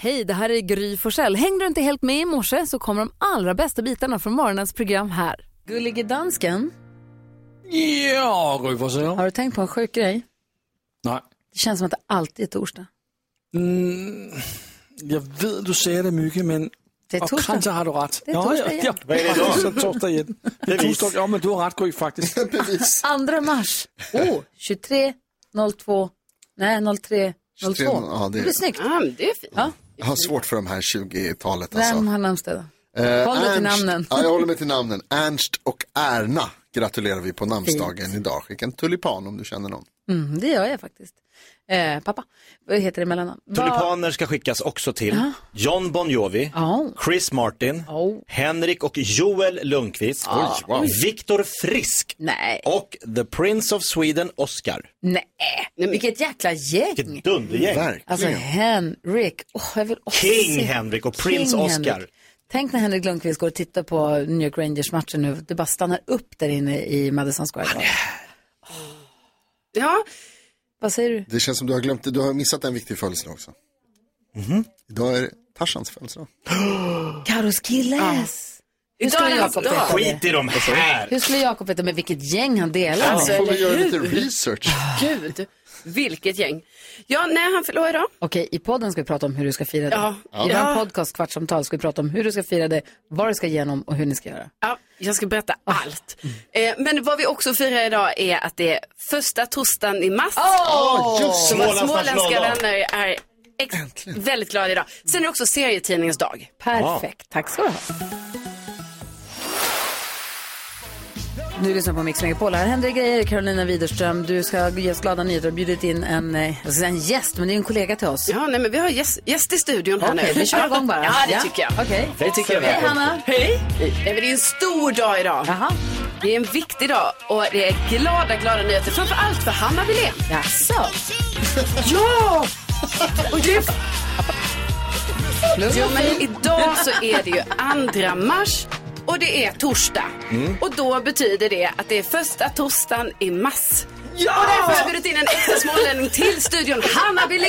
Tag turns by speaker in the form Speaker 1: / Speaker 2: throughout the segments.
Speaker 1: Hej, det här är Gry Forssell. Hängde du inte helt med i morse så kommer de allra bästa bitarna från morgonens program här. Gullige dansken,
Speaker 2: Ja, Gry Forssell.
Speaker 1: har du tänkt på en sjuk grej?
Speaker 2: Nej.
Speaker 1: Det känns som att det alltid är torsdag.
Speaker 2: Mm, jag vet du säger det mycket, men
Speaker 1: Det är
Speaker 2: och
Speaker 1: torsdag.
Speaker 2: kanske har du rätt.
Speaker 1: Det är torsdag
Speaker 2: ja,
Speaker 1: igen.
Speaker 2: ja,
Speaker 3: Vad är det
Speaker 2: ja.
Speaker 3: då?
Speaker 2: Så torsdag igen. Det är torsdag, ja men du har rätt Gry faktiskt.
Speaker 4: Precis.
Speaker 1: 2 mars. Oh, 23, 02, nej 03, 02.
Speaker 4: 23, ja,
Speaker 1: det...
Speaker 4: det-
Speaker 1: blir snyggt.
Speaker 5: Ja, men det är fint.
Speaker 1: Ja.
Speaker 4: Jag har svårt för de här 20-talet
Speaker 1: Vem
Speaker 4: alltså.
Speaker 1: har namnsdag då?
Speaker 4: Eh,
Speaker 1: Håll dig till
Speaker 4: Ernst-
Speaker 1: namnen.
Speaker 4: Ja, jag håller mig till namnen. Ernst och Erna gratulerar vi på namnsdagen idag. Skicka en tulipan om du känner någon.
Speaker 1: Mm, det gör jag faktiskt. Eh, pappa, vad heter det mellannamn? Va-
Speaker 3: Tulipaner ska skickas också till John Bon Jovi,
Speaker 1: Ja.
Speaker 3: Chris Martin,
Speaker 1: Oh. Ah.
Speaker 3: Henrik och Joel Lundqvist, Viktor Frisk
Speaker 1: Nej,
Speaker 3: och The Prince of Sweden, Oscar.
Speaker 1: nej.
Speaker 5: men-
Speaker 1: Vilket jäkla gäng.
Speaker 3: Vilket dundergäng.
Speaker 4: Verkligen.
Speaker 1: Alltså Henrik. Åh, jag vill också
Speaker 3: King
Speaker 1: se-
Speaker 3: Henrik och Prince Oscar.
Speaker 1: Henrik. Tänk när Henrik Lundqvist går och tittar på New York Rangers-matchen nu. Det bara stannar upp där inne i Madison Square Garden.
Speaker 5: Ja,
Speaker 1: Vad säger du?
Speaker 4: Det känns som du har glömt det. Du har missat en viktig födelsedag också. Idag är det Tarzans födelsedag.
Speaker 1: Karos killes. Hur
Speaker 5: Idag är
Speaker 1: skulle
Speaker 5: det
Speaker 1: Jakob
Speaker 5: hans
Speaker 1: veta
Speaker 5: dag.
Speaker 1: det?
Speaker 3: Skit i de här.
Speaker 1: Hur skulle Jakob veta med vilket gäng han delar?
Speaker 5: Alltså,
Speaker 4: Får vi
Speaker 5: eller
Speaker 4: göra
Speaker 5: hur?
Speaker 4: lite research?
Speaker 5: gud. Vilket gäng. Ja, nej, han förlorar idag.
Speaker 1: Okej, i podden ska vi prata om hur du ska fira det.
Speaker 5: Ja.
Speaker 1: I
Speaker 5: Ja.
Speaker 1: vår podcast Kvartsamtal ska vi prata om hur du ska fira det, vad du ska igenom och hur ni ska göra.
Speaker 5: Ja, jag ska berätta allt. Eh, men vad vi också firar idag är att det är första torsdagen i mars.
Speaker 4: Ja, Ah, just
Speaker 5: Så våra
Speaker 3: Smålands
Speaker 5: småländska
Speaker 3: nationaldag.
Speaker 5: vänner är ex- väldigt glada idag. Sen är det också serietidningens dag.
Speaker 1: Perfekt, tack ska du ha. Du lyssnar på Mix Megapol. Här händer det grejer. Carolina Widerström, du ska ge oss glada nyheter. Du har bjudit in en, eh, jag ska säga en gäst, men det är en kollega till oss.
Speaker 5: Ja, nej, men vi har gäst, gäst i studion här
Speaker 1: Okej,
Speaker 5: nu.
Speaker 1: vi kör igång bara.
Speaker 5: Ja, det tycker jag.
Speaker 1: Okej.
Speaker 3: Det tycker jag
Speaker 1: Hej
Speaker 3: väl.
Speaker 1: Hanna!
Speaker 5: Hej! Nej, men det är en stor dag idag.
Speaker 1: Jaha,
Speaker 5: Det är en viktig dag och det är glada, glada nyheter. Framför allt för Hanna Wilén.
Speaker 1: jaså?
Speaker 5: Ja! Och det är Jo, men idag så är det ju 2 mars och det är torsdag.
Speaker 1: Mm.
Speaker 5: Och då betyder det att det är första torsdagen i mars. Och därför har jag bjudit in en äkta smålänning till studion, Hanna Wilén.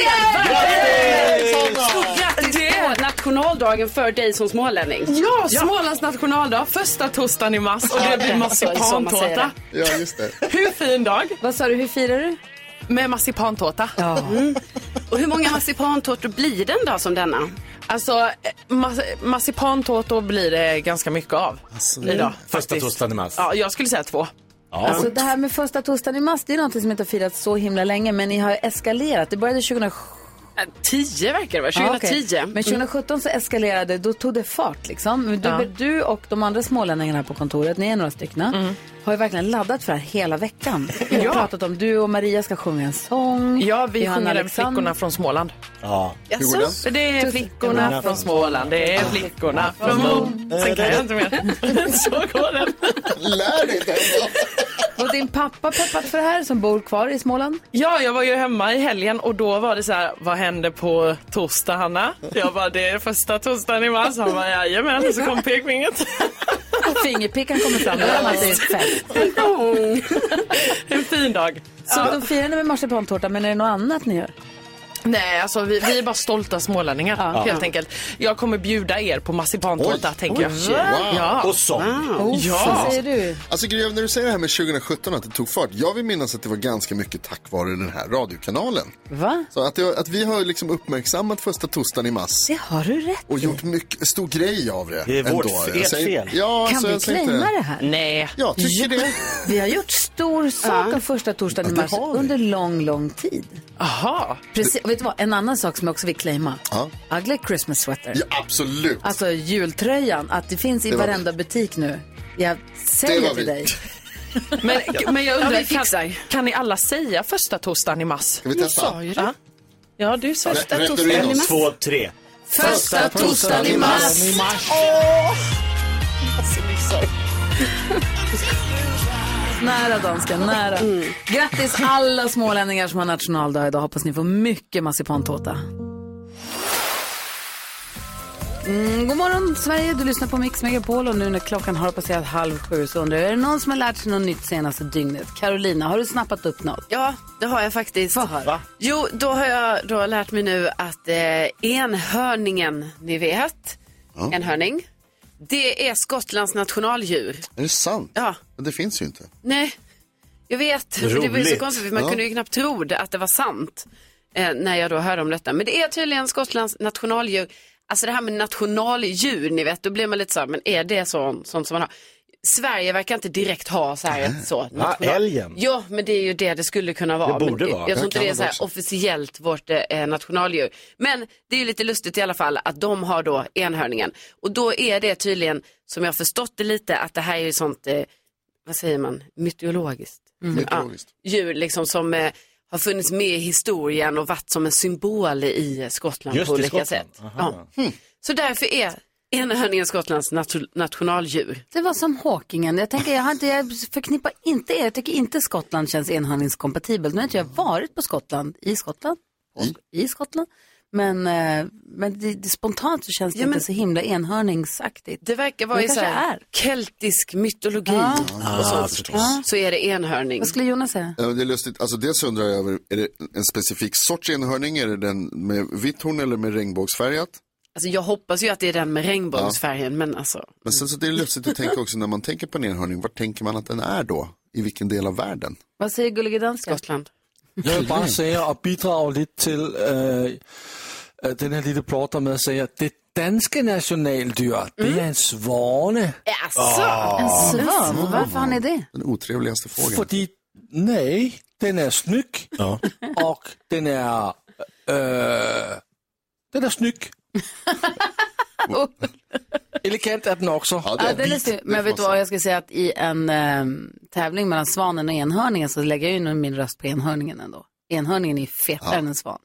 Speaker 5: Grattis! Stort grattis på nationaldagen för dig som smålänning.
Speaker 6: Ja, Smålands nationaldag, första torsdagen i mars och det blir
Speaker 5: Så man säger
Speaker 6: marsipantårta.
Speaker 4: Ja, just det.
Speaker 6: Hur fin dag
Speaker 1: Vad sa du, hur firar du?
Speaker 6: med Mm. marsipantårta.
Speaker 1: Ja.
Speaker 5: Och hur många marsipantårtor blir det en dag som denna?
Speaker 6: Alltså, eh, mas marsipantårtor blir det ganska mycket av idag.
Speaker 3: Alltså, Första
Speaker 6: faktiskt.
Speaker 3: torsdagen i mars.
Speaker 6: Ja, jag skulle säga två.
Speaker 1: Alltså det här med första torsdagen i mars, det är någonting som inte har firats så himla länge, men ni har ju eskalerat. Det började 2007.
Speaker 5: Äh, Tio verkar det vara, Mm.
Speaker 1: Ja,
Speaker 5: 2010.
Speaker 1: okej. Men 2017 så eskalerade då tog det fart liksom. Men Du,
Speaker 6: Ja.
Speaker 1: du och de andra smålänningarna här på kontoret, ni är några stycken, har ju verkligen laddat för det här hela veckan. Vi har
Speaker 6: Mm. Ja.
Speaker 1: pratat om, du och Maria ska sjunga en sång.
Speaker 6: Ja, vi
Speaker 1: Johanna
Speaker 6: sjunger den
Speaker 1: Alexander-
Speaker 6: Flickorna från Småland.
Speaker 3: Ja.
Speaker 4: Hur går den?
Speaker 5: Jaså?
Speaker 6: Så Det är flickorna från Småland, det är flickorna från Mo. Sen kan jag inte mer. Så går den.
Speaker 4: Lär dig det ändå.
Speaker 1: Och din pappa peppat för det här som bor kvar i Småland.
Speaker 6: Ja, jag var ju hemma i helgen och då var det så här, vad händer på torsdag Hanna? Jag bara, det är första torsdagen i mars. Han bara, jajamän, och så kom pekfingret.
Speaker 1: Fingerpickan kommer fram. Det är alltid fett.
Speaker 6: En fin dag.
Speaker 1: Så de firar ni med marsipantårta, men är det något annat ni gör?
Speaker 6: Nej, alltså vi, vi är bara stolta smålänningar helt enkelt. Jag kommer bjuda er på marsipantårta
Speaker 4: Oj.
Speaker 6: tänker jag.
Speaker 4: Wow.
Speaker 6: Ja.
Speaker 3: Och så.
Speaker 1: Oh,
Speaker 6: Ja.
Speaker 1: Vad säger du?
Speaker 4: Alltså Grev, när du säger det här med 2017 att det tog fart. Jag vill minnas att det var ganska mycket tack vare den här radiokanalen.
Speaker 1: Va?
Speaker 4: Så att, det, att vi har liksom uppmärksammat första torsdagen i mars
Speaker 1: Det har du rätt
Speaker 4: och gjort mycket, stor grej av det.
Speaker 3: Det är vårt
Speaker 4: ändå.
Speaker 3: fel.
Speaker 4: Jag säger-
Speaker 3: Fel.
Speaker 4: Ja,
Speaker 1: Kan
Speaker 4: så
Speaker 1: vi
Speaker 4: jag säger inte-
Speaker 1: claima det här?
Speaker 6: Nej.
Speaker 4: Ja, tycker det.
Speaker 1: Vi har gjort stor sak av första torsdagen i
Speaker 4: det
Speaker 1: mars
Speaker 4: har vi.
Speaker 1: under lång, lång tid.
Speaker 6: Aha.
Speaker 1: Precis, och vet du vad, en annan sak som jag också vill claima.
Speaker 4: Ja.
Speaker 1: Ugly Christmas sweater.
Speaker 4: Ja, absolut.
Speaker 1: Alltså jultröjan, att det finns i
Speaker 4: Det var
Speaker 1: varenda butik nu. Jag
Speaker 4: Det
Speaker 1: säger
Speaker 4: var
Speaker 1: till
Speaker 4: vi.
Speaker 1: dig.
Speaker 6: Men, men jag undrar,
Speaker 5: vi fixar.
Speaker 6: kan, kan ni alla säga första torsdagen i mars?
Speaker 4: Ska vi testa?
Speaker 5: ju
Speaker 6: Ja, ja du sa
Speaker 4: Rä- rättar du in
Speaker 3: En,
Speaker 4: oss?
Speaker 3: två, tre.
Speaker 1: Första torsdagen i mars. Nära dansken, nära.
Speaker 4: Mm.
Speaker 1: Grattis alla smålänningar som har nationaldag idag. Hoppas ni får mycket marsipantårta. Mm, god morgon Sverige, du lyssnar på Mix Megapol och nu när klockan har passerat halv sju så undrar jag, är det någon som har lärt sig något nytt senaste dygnet? Carolina, har du snappat upp något?
Speaker 5: Ja, det har jag faktiskt.
Speaker 1: Va?
Speaker 5: Jo, då har jag då har jag lärt mig nu att eh, enhörningen, ni vet, enhörning, det är Skottlands nationaldjur.
Speaker 4: Är det sant?
Speaker 5: Ja.
Speaker 4: Men det finns ju inte.
Speaker 5: Nej, jag vet. Men Det var ju så
Speaker 3: Roligt.
Speaker 5: konstigt, för man
Speaker 4: Ja.
Speaker 5: kunde ju knappt tro det, att det var sant eh, när jag då hörde om detta. Men det är tydligen Skottlands nationaldjur. Alltså det här med nationaldjur, ni vet, då blir man lite så här, men är det så, sånt som man har? Sverige verkar inte direkt ha så här ett så. national-
Speaker 3: älgen.
Speaker 5: Ja, men det är ju det det skulle kunna vara.
Speaker 3: Det borde
Speaker 5: men
Speaker 3: vara.
Speaker 5: Jag tror
Speaker 4: Det
Speaker 5: inte
Speaker 4: kan
Speaker 5: det är
Speaker 4: det
Speaker 5: så här
Speaker 4: också.
Speaker 5: officiellt vårt eh, nationaldjur. Men det är ju lite lustigt i alla fall att de har då enhörningen. Och då är det tydligen, som jag har förstått det lite, att det här är ju sånt eh, vad säger man, mytologiskt.
Speaker 3: Mm.
Speaker 4: Mytologiskt.
Speaker 5: Ja, djur liksom som eh, har funnits med i historien och varit som en symbol i eh, Skottland
Speaker 3: Just
Speaker 5: på
Speaker 3: i
Speaker 5: olika
Speaker 3: Skottland. Hmm.
Speaker 5: sätt. Ja. Så därför är enhörningen Skottlands natu- nationaldjur.
Speaker 1: Det var som Håkingen. Jag, tänker, jag, har inte, jag förknippar inte er. Jag tycker inte Skottland känns enhandlingskompatibelt. Nu har inte jag varit på Skottland, i Skottland, i, Skottland. Men, eh, men det, det, spontant så känns det
Speaker 5: Ja, men-
Speaker 1: inte så himla enhörningsaktigt.
Speaker 5: Det verkar vara
Speaker 1: Det
Speaker 5: i så
Speaker 1: kanske
Speaker 5: här
Speaker 1: är.
Speaker 5: keltisk mytologi och sånt. Så är det enhörning.
Speaker 1: Vad skulle Jonas säga?
Speaker 4: Ja, Det är lustigt, alltså dels undrar jag över, är det en specifik sorts enhörning? Är det den med vitt horn eller med regnbågsfärgat?
Speaker 5: Alltså, jag hoppas ju att det är den med regnbågsfärgen, men alltså.
Speaker 4: Men sen så det är lustigt att tänka också när man tänker på en enhörning, var tänker man att den är då? I vilken del av världen?
Speaker 1: Vad säger gullige dansken?
Speaker 5: Skottland.
Speaker 2: Jeg vil bare sige og bidrage lidt til øh, øh, den her lille plotter med at sige, at det danske nationaldyr, det er en svorne,
Speaker 5: Jaså?
Speaker 1: Mm. En svan? Varför har ni Ah. det?
Speaker 4: Den otrevligaste fågeln.
Speaker 2: fordi nej, den er snyk,
Speaker 3: Ja.
Speaker 2: og den er, øh, den er snyk. Elegant er den også.
Speaker 4: Ja,
Speaker 1: Ja, det är
Speaker 4: vit,
Speaker 1: lite,
Speaker 4: det får
Speaker 1: men vet
Speaker 4: man
Speaker 1: du
Speaker 4: säga.
Speaker 1: vad, jag ska säga att i en eh, tävling mellan svanen och enhörningen så lägger jag ju nog min röst på enhörningen ändå. Enhörningen är fetare än en svan.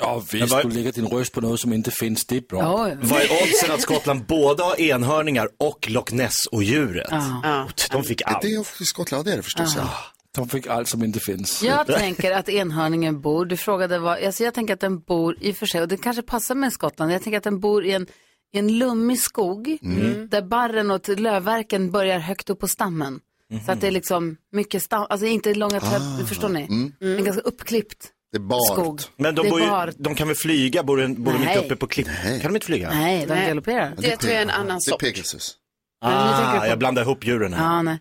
Speaker 2: Og hvis
Speaker 3: Men hvad-
Speaker 2: du lægger din røst på noget, som ikke findes, det er bra.
Speaker 1: Ja, ja.
Speaker 3: Vad är oddsen att Skottland både har enhörningar och Loch Ness-odjuret?
Speaker 5: Ja.
Speaker 3: De fick allt.
Speaker 4: Det är också i Skottland, ja, det är det förstås. Ja.
Speaker 2: De fik alt, som ikke findes.
Speaker 1: Jag tänker att enhörningen bor, du frågade vad, alltså jag tänker att den bor i och för sig, och det kanske passar med Skottland, jag tänker att den bor i en, i en lummig skog
Speaker 5: Mm.
Speaker 1: där barren och t- lövverken börjar högt upp på stammen. Så att
Speaker 5: Mm-hmm.
Speaker 1: det är liksom mycket stam, alltså inte långa träd,
Speaker 5: Ah.
Speaker 1: förstår ni?
Speaker 5: Mm.
Speaker 1: Men ganska uppklippt
Speaker 4: Det är bart.
Speaker 1: skog.
Speaker 3: Men
Speaker 1: det
Speaker 3: de,
Speaker 1: är
Speaker 3: bor ju,
Speaker 1: bart.
Speaker 3: de kan väl flyga? Bor de, bor de inte
Speaker 1: Nej.
Speaker 3: uppe på klippor? Kan de inte flyga?
Speaker 1: Nej, de
Speaker 5: Nej.
Speaker 1: galopperar.
Speaker 5: Det tror jag är en annan
Speaker 4: Det är
Speaker 5: sort.
Speaker 4: Pegasus.
Speaker 1: nu tänker jag
Speaker 3: Ah,
Speaker 1: på-
Speaker 3: jag blandar ihop djuren här.
Speaker 1: Ja, nej.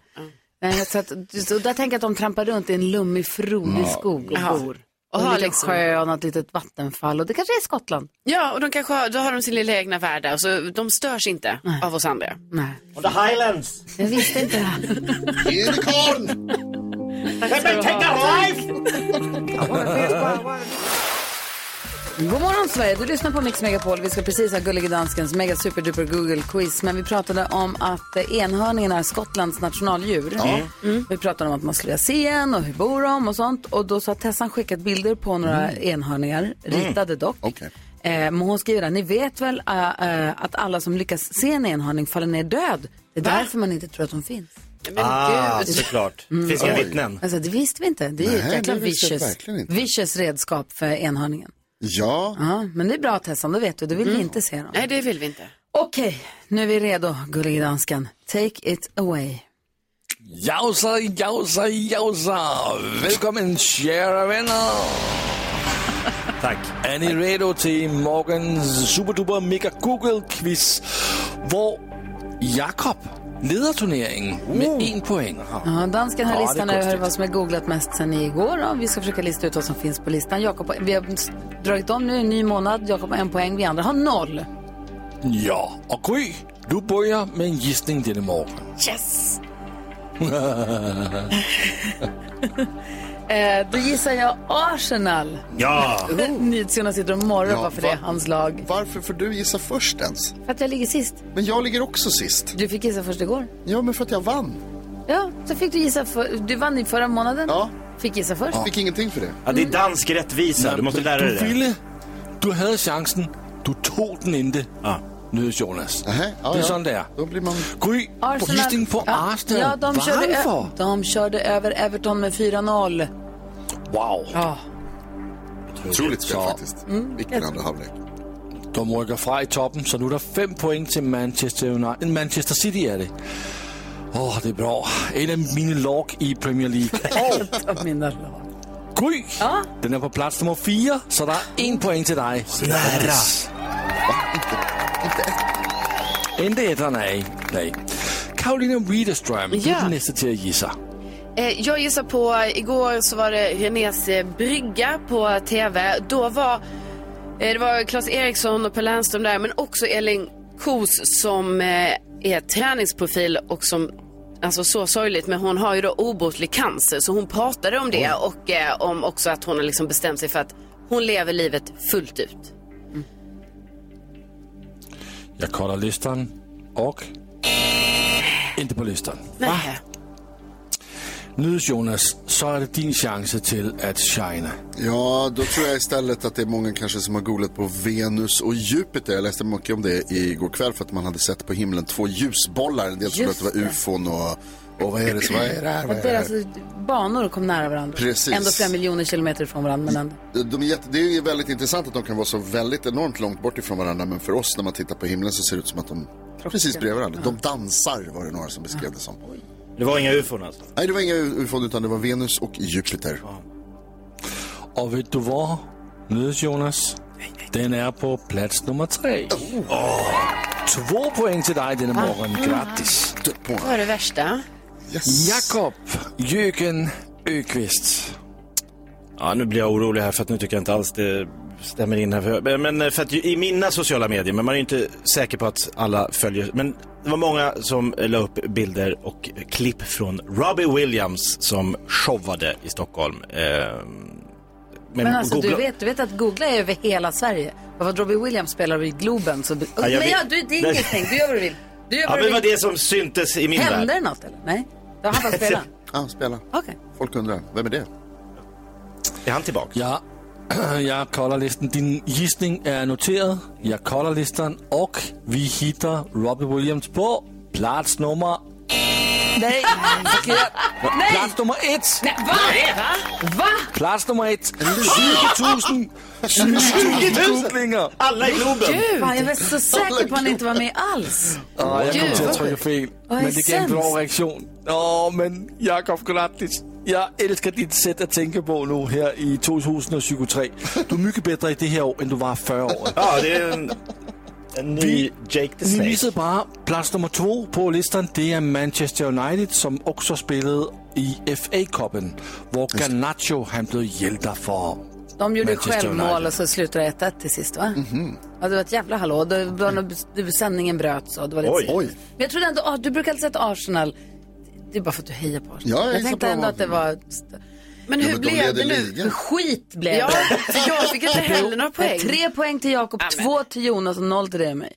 Speaker 1: nej så att, så där tänker jag att de trampar runt i en lummig, frodig skog och
Speaker 5: Ja.
Speaker 1: bor.
Speaker 5: Och
Speaker 1: Och en
Speaker 5: har
Speaker 1: liten
Speaker 5: liksom-
Speaker 1: sjö och något litet vattenfall. Och det kanske är Skottland.
Speaker 5: Ja, och de kanske har, då har de sin lilla egna värld där, så de störs inte av oss andra.
Speaker 1: Nej,
Speaker 3: Och the highlands!
Speaker 1: jag visste inte det här.
Speaker 4: Unicorn!
Speaker 1: God morgon Sverige, du lyssnar på Mix Megapol. Vi ska precis ha Gullige Danskens mega superduper Google quiz. Men vi pratade om att eh, enhörningen är Skottlands nationaldjur. Mm. Vi pratade om att man skulle vilja se en och hur bor de och sånt. Och då så har Tessan skickat bilder på några
Speaker 4: Mm.
Speaker 1: enhörningar, ritade dock.
Speaker 4: Okej.
Speaker 1: Eh, men hon skriver där, ni vet väl eh, eh, att alla som lyckas se en enhörning faller ner död. Det är därför man inte tror att de finns.
Speaker 5: Men
Speaker 3: Ah,
Speaker 5: gud.
Speaker 3: såklart. Finns inga vittnen.
Speaker 1: Alltså, det visste vi inte. Det är ju
Speaker 4: Nej,
Speaker 1: ett jäkla
Speaker 4: det visste jag
Speaker 1: vicious,
Speaker 4: verkligen inte.
Speaker 1: vicious redskap för enhörningen.
Speaker 4: Ja,
Speaker 1: Ja, men det är bra Tessan, då vet du. Då vill vi inte se dem.
Speaker 5: Mm. Nej, det vill vi inte.
Speaker 1: Okej, nu är vi redo, gullige dansken. Take it away.
Speaker 2: Jausa, jausa, jausa. Velkommen, kære venner.
Speaker 3: Tack.
Speaker 2: Er I redo til morgens superduper mega Google quiz, hvor Jakob leder turneringen med en point.
Speaker 1: Ja, dansken har
Speaker 2: Ja, det är
Speaker 1: listan över
Speaker 2: konstigt.
Speaker 1: vad som är googlat mest sen igår. Och vi ska försöka lista ut vad som finns på listan. Jakob, vi har dragit om nu en ny månad. Jakob har en poäng, vi andra har noll.
Speaker 2: Ja, og Gry, du bøjer med en gissning denne morgen.
Speaker 5: Yes!
Speaker 1: Eh, då gissar jag Arsenal.
Speaker 3: Ja!
Speaker 1: NyhetsJonas sitter och morrar
Speaker 4: Ja,
Speaker 1: bara för det,
Speaker 4: va?
Speaker 1: är hans lag.
Speaker 4: varför får du gissa först ens?
Speaker 1: För att jag ligger sist.
Speaker 4: Men jag ligger också sist.
Speaker 1: Du fick gissa först igår.
Speaker 4: Ja, men för att jag vann.
Speaker 1: Ja, så fick du gissa. För, du vann i förra månaden.
Speaker 4: Ja.
Speaker 1: Fick gissa först.
Speaker 4: Fick ingenting för det.
Speaker 3: ja, det är dansk rättvisa. Du måste lära dig
Speaker 2: Du
Speaker 3: det.
Speaker 2: ville, du havde chancen, du tog den inte.
Speaker 3: Ja.
Speaker 2: Nydes Jonas.
Speaker 4: Aha, ja,
Speaker 2: det er
Speaker 4: ja.
Speaker 2: sådan, det er.
Speaker 4: Då blir man...
Speaker 2: Gry, på gissning på
Speaker 1: ja,
Speaker 2: Arsenal.
Speaker 1: Ja, de körde, ö-
Speaker 2: Varför?
Speaker 1: de körde över Everton med 4-0.
Speaker 2: Wow.
Speaker 1: Ja.
Speaker 4: Otroligt spel
Speaker 2: Så-
Speaker 4: faktiskt. Vilken andra halvlek.
Speaker 2: De rykker fra i toppen, så nu er der fem point til Manchester, United. Manchester City er det. Åh, oh, det er bra. En af mine log i Premier League. Og
Speaker 1: Av mina lag.
Speaker 2: Gry, den er på plads nummer 4, så der er en point til dig. Næra. Inte etter, nej. nej. Karoline Widerström, du er
Speaker 5: Ja.
Speaker 2: den næste til at gisse.
Speaker 5: Eh, Jag gissar på, igår så var det Renés eh, brygga på TV. Då var, eh, det var Claes Eriksson och Per Lernström där, men också Elin Kos som eh, är träningsprofil och som, alltså så sorgligt, men hon har ju då obotlig cancer. Så hon pratade om det och eh, om också att hon har liksom bestämt sig för att hon lever livet fullt ut.
Speaker 2: Jeg kolder listeren, og inte på listeren.
Speaker 5: Nej.
Speaker 2: Nydes Jonas, så er det din chance til at shine.
Speaker 4: Ja, då tror jag istället att det är många kanske som har googlat på Venus och Jupiter. Jag läste mycket om det igår kväll för att man hade sett på himlen två ljusbollar. En del trodde att
Speaker 1: Just
Speaker 4: det var ufon och, och vad är det, så vad är det här? Vad är det här?
Speaker 1: Deras banor kom nära varandra.
Speaker 4: Precis.
Speaker 1: Ändå flera miljoner kilometer ifrån varandra. Men ändå.
Speaker 4: De är jätte, det är väldigt intressant att de kan vara så väldigt enormt långt bort ifrån varandra. Men för oss när man tittar på himlen så ser det ut som att de precis bredvid varandra. De dansar var det några som beskrev det som.
Speaker 1: Ah,
Speaker 3: Det var inga ufon alltså.
Speaker 4: Nej, det var inga ufon utan det var Venus och Jupiter.
Speaker 2: Og ved du hvor? Nydes Jonas. Den er på plads nummer 3. Oh. Två point til dig denne morgen. Gratis.
Speaker 4: Dött på.
Speaker 5: Vad är det värsta?
Speaker 4: Yes.
Speaker 2: Jakob Jøgen Øqvist.
Speaker 3: Ja, nu blir jag orolig här för att nu tycker jag inte alls det stämmer in här. För, men eh, för att ju- i mina sociala medier, men man är ju inte säker på att alla följer. Men det var många som eh, la upp bilder och klipp från Robbie Williams som showade i Stockholm. Eh,
Speaker 1: Men alltså,
Speaker 3: googla-
Speaker 1: du, vet, du vet att googla är över hela Sverige. Bara för att Robbie Williams spelar i Globen så...
Speaker 3: jag
Speaker 1: men
Speaker 3: vet.
Speaker 1: ja, du, det är
Speaker 3: Nej.
Speaker 1: ingenting. Du gör vad du vill. Du gör
Speaker 3: Ja,
Speaker 1: vad
Speaker 3: men det
Speaker 1: du
Speaker 3: var
Speaker 1: vill.
Speaker 3: det som syntes i min
Speaker 1: Hände
Speaker 3: värld.
Speaker 1: det något eller? Nej? Då har han bara spelat?
Speaker 4: Ah, spela.
Speaker 1: Okej.
Speaker 4: Folk undrar, vem är det?
Speaker 3: Är han tillbaka?
Speaker 2: Ja, jeg kolder listen. Din gissning er noteret. Jeg kolder listen, og vi hitter Robbie Williams på plads nummer... Nej, forkert. Plads nummer 1.
Speaker 1: Nej, va? Va?
Speaker 2: Plads nummer 1. 20.000. 20.000 googlinger.
Speaker 3: Alla i Globen!
Speaker 1: Fan, jag var så säker på att han inte var med alls.
Speaker 2: Åh, jeg kom
Speaker 1: Gud.
Speaker 2: til at trykke fejl.
Speaker 1: Åh,
Speaker 2: men det gav en
Speaker 1: sens.
Speaker 2: bra reaktion. Åh, men Jakob Gratis, jeg elsker dit sæt at tænke på nu her i 2023. Du er mycket bedre i det her år, end du var 40 år.
Speaker 3: Ja, det är en, en ny Jake
Speaker 2: Vi
Speaker 3: the Snake.
Speaker 2: visste bare, plads nummer to på listen, det er Manchester United, som også spillede i FA-koppen, hvor Garnacho han blev hjælter for.
Speaker 1: De gjorde
Speaker 2: Manchester
Speaker 1: självmål
Speaker 2: United.
Speaker 1: och så slutade det 1-1 till sist va?
Speaker 4: Mhm.
Speaker 1: Ja, det var ett jävla hallå. Det var nog- det- Sändningen bröts och det var lite
Speaker 3: Oj.
Speaker 1: sent. Men jag trodde ändå, ah, du brukar alltid säga att Arsenal, det är bara för att du hejar på Arsenal.
Speaker 4: Ja, jag
Speaker 1: jag
Speaker 4: gissar
Speaker 1: tänkte
Speaker 4: på
Speaker 1: ändå
Speaker 4: dem.
Speaker 1: att det var,
Speaker 5: Men hur
Speaker 4: men de
Speaker 5: blev det
Speaker 4: leder
Speaker 5: nu?
Speaker 4: ligan.
Speaker 1: skit blev
Speaker 5: Ja,
Speaker 1: det.
Speaker 5: för jag fick inte heller några poäng.
Speaker 1: Tre poäng till Jakob, två till Jonas och noll till dig och mig.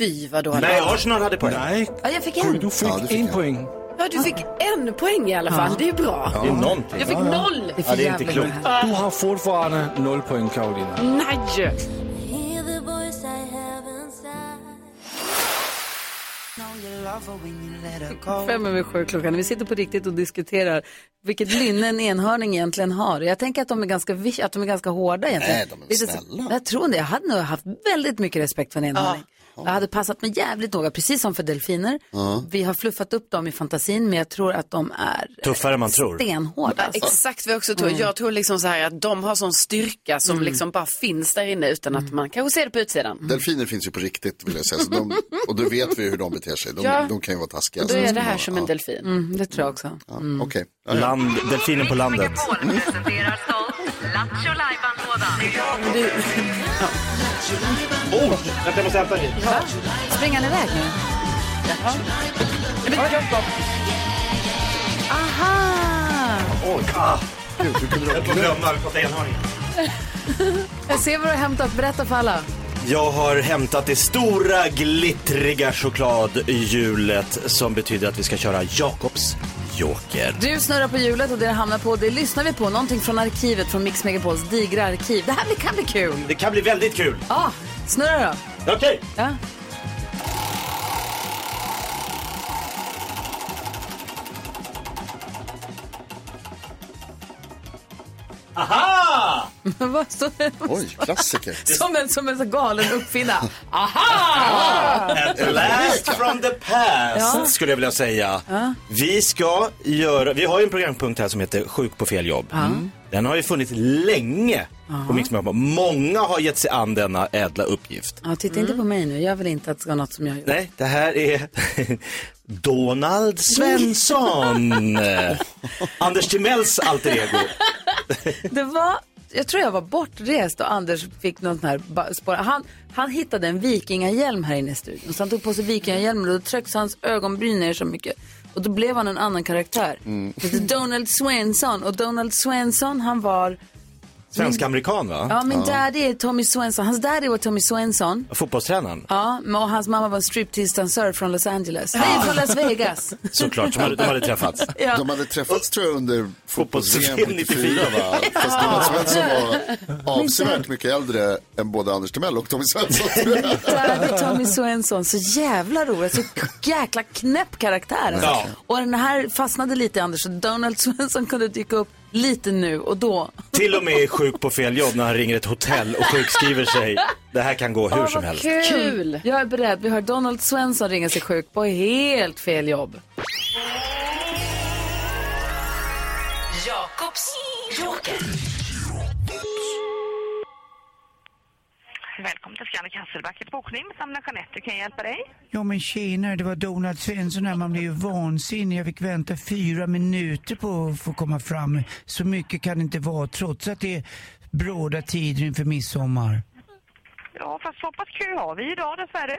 Speaker 5: Fy vad dåligt.
Speaker 3: Nej, Arsenal hade poäng.
Speaker 2: Nej,
Speaker 1: Ja, jag fick
Speaker 2: Gry,
Speaker 1: en.
Speaker 2: du fik
Speaker 4: Ja, det fik
Speaker 2: en
Speaker 4: jeg.
Speaker 2: point.
Speaker 5: Ja, du fick en poäng i alla fall. Det är ju bra.
Speaker 3: Det är någonting.
Speaker 5: Jag fick noll.
Speaker 1: Det är för
Speaker 3: det är inte
Speaker 1: jävla
Speaker 3: klokt.
Speaker 1: här.
Speaker 2: Du har fortfarande 0 point, Karoline.
Speaker 5: Nej!
Speaker 7: Hear the voice I have inside.
Speaker 1: Fem över sju klockan. Vi sitter på riktigt och diskuterar vilket lynne en enhörning egentligen har. Jag tänker att de är ganska, vi- att de är ganska hårda egentligen.
Speaker 4: Nej, de är
Speaker 1: Lite så-
Speaker 4: snälla.
Speaker 1: Jag tror det. Jag hade nog haft väldigt mycket respekt för en enhörning. Jag hade passat mig jävligt noga, precis som för delfiner. Vi har fluffat upp dem i fantasin, men jag tror att de är
Speaker 3: Tuffare än man tror.
Speaker 1: stenhårda. Alltså.
Speaker 5: Exakt vad jag också tror. Jag tror liksom så här att de har sån styrka som liksom bara finns där inne utan att man kanske ser det på utsidan.
Speaker 4: Delfiner finns ju på riktigt vill jag säga. Så de, och då vet vi hur de beter sig. De,
Speaker 5: Ja.
Speaker 4: de kan ju vara taskiga.
Speaker 5: Då är
Speaker 4: Så
Speaker 5: det här
Speaker 4: de-
Speaker 5: som en delfin.
Speaker 1: Mm, det tror jag också.
Speaker 4: Ja, ja, Okej. Ja, ja.
Speaker 3: Land, delfinen på landet.
Speaker 8: presenterar stolt Lattjo Lajban-lådan.
Speaker 1: Springer han iväg nu? Aha!
Speaker 4: Gud, hur kunde de-
Speaker 1: Jag ser vad du har hämtat. Berätta för alla.
Speaker 3: Jag har hämtat det stora glittriga chokladhjulet som betyder att vi ska köra Jakobs joker.
Speaker 1: Du snurrar på hjulet och det det hamnar på, det lyssnar vi på. Någonting från arkivet, från Mix Megapols digra arkiv. Det här blir- kan bli kul.
Speaker 3: Det kan bli väldigt kul.
Speaker 1: Ah, snurra då.
Speaker 3: Okej.
Speaker 1: Ja.
Speaker 3: Aha!
Speaker 1: Vad så-
Speaker 4: Oj, klassiker.
Speaker 1: som en, som en så galen uppfinna. Aha!
Speaker 3: A blast from the past
Speaker 1: Ja.
Speaker 3: Äh, skulle jag vilja säga. Vi ska göra, vi har ju en programpunkt här som heter Sjuk på fel jobb. Mm. Den har ju funnits länge på Mix Megapol. Många har gett sig an denna ädla uppgift.
Speaker 1: Ja, titta inte på mig nu. Jag vill inte att det ska vara något som jag gör.
Speaker 3: Nej, det här är Donald Svensson. Anders Timells alter ego.
Speaker 1: Det var, jag tror jag var bortrest och Anders fick någon sån här ba- spår. Han, han hittade en vikingahjälm här inne i studion. Så han tog på sig vikingahjälmen och då trycktes hans ögonbryn ner så mycket. Och då blev han en annan karaktär. Mm. Donald Swenson. Och Donald Swenson han var,
Speaker 3: Svensk-amerikan va?
Speaker 1: ja min daddy är Tommy Swenson. Hans daddy var Tommy Swenson.
Speaker 3: Fotbollstränaren.
Speaker 1: Ja, men- och hans mamma var en striptease-dansör från Los Angeles. Nej, från Las Vegas.
Speaker 3: Såklart, som hade, de hade träffats.
Speaker 1: Ja.
Speaker 4: De hade träffats tror jag under fotbolls-VM 94
Speaker 3: 94,
Speaker 4: va? Fast Donald Svensson var avsevärt mycket äldre än både Anders Timell och Tommy Svensson. tror jag.
Speaker 1: Daddy Tommy Svensson, så jävla roligt. Så jäkla knäpp karaktär. Alltså.
Speaker 3: Ja.
Speaker 1: Och den här fastnade lite i Anders, så Donald Svensson kunde dyka upp lite nu och då.
Speaker 3: Till och med är sjuk på fel jobb när han ringer ett hotell och sjukskriver sig. Det här kan gå hur som helst.
Speaker 5: Kul!
Speaker 1: Jag är beredd, vi hör Donald Svensson ringa sig sjuk på helt fel jobb.
Speaker 8: Jakobs joker. Välkommen till Scandic Hasselbackets bokning. Samla Jeanette, kan jag hjälpa dig?
Speaker 9: Ja men tjena, det var Donald Svensson här. Man blev ju vansinnig. Jag fick vänta fyra minuter på att få komma fram. Så mycket kan det inte vara trots att det är bråda tider inför midsommar.
Speaker 8: Ja, fast så pass kö har vi idag dessvärre.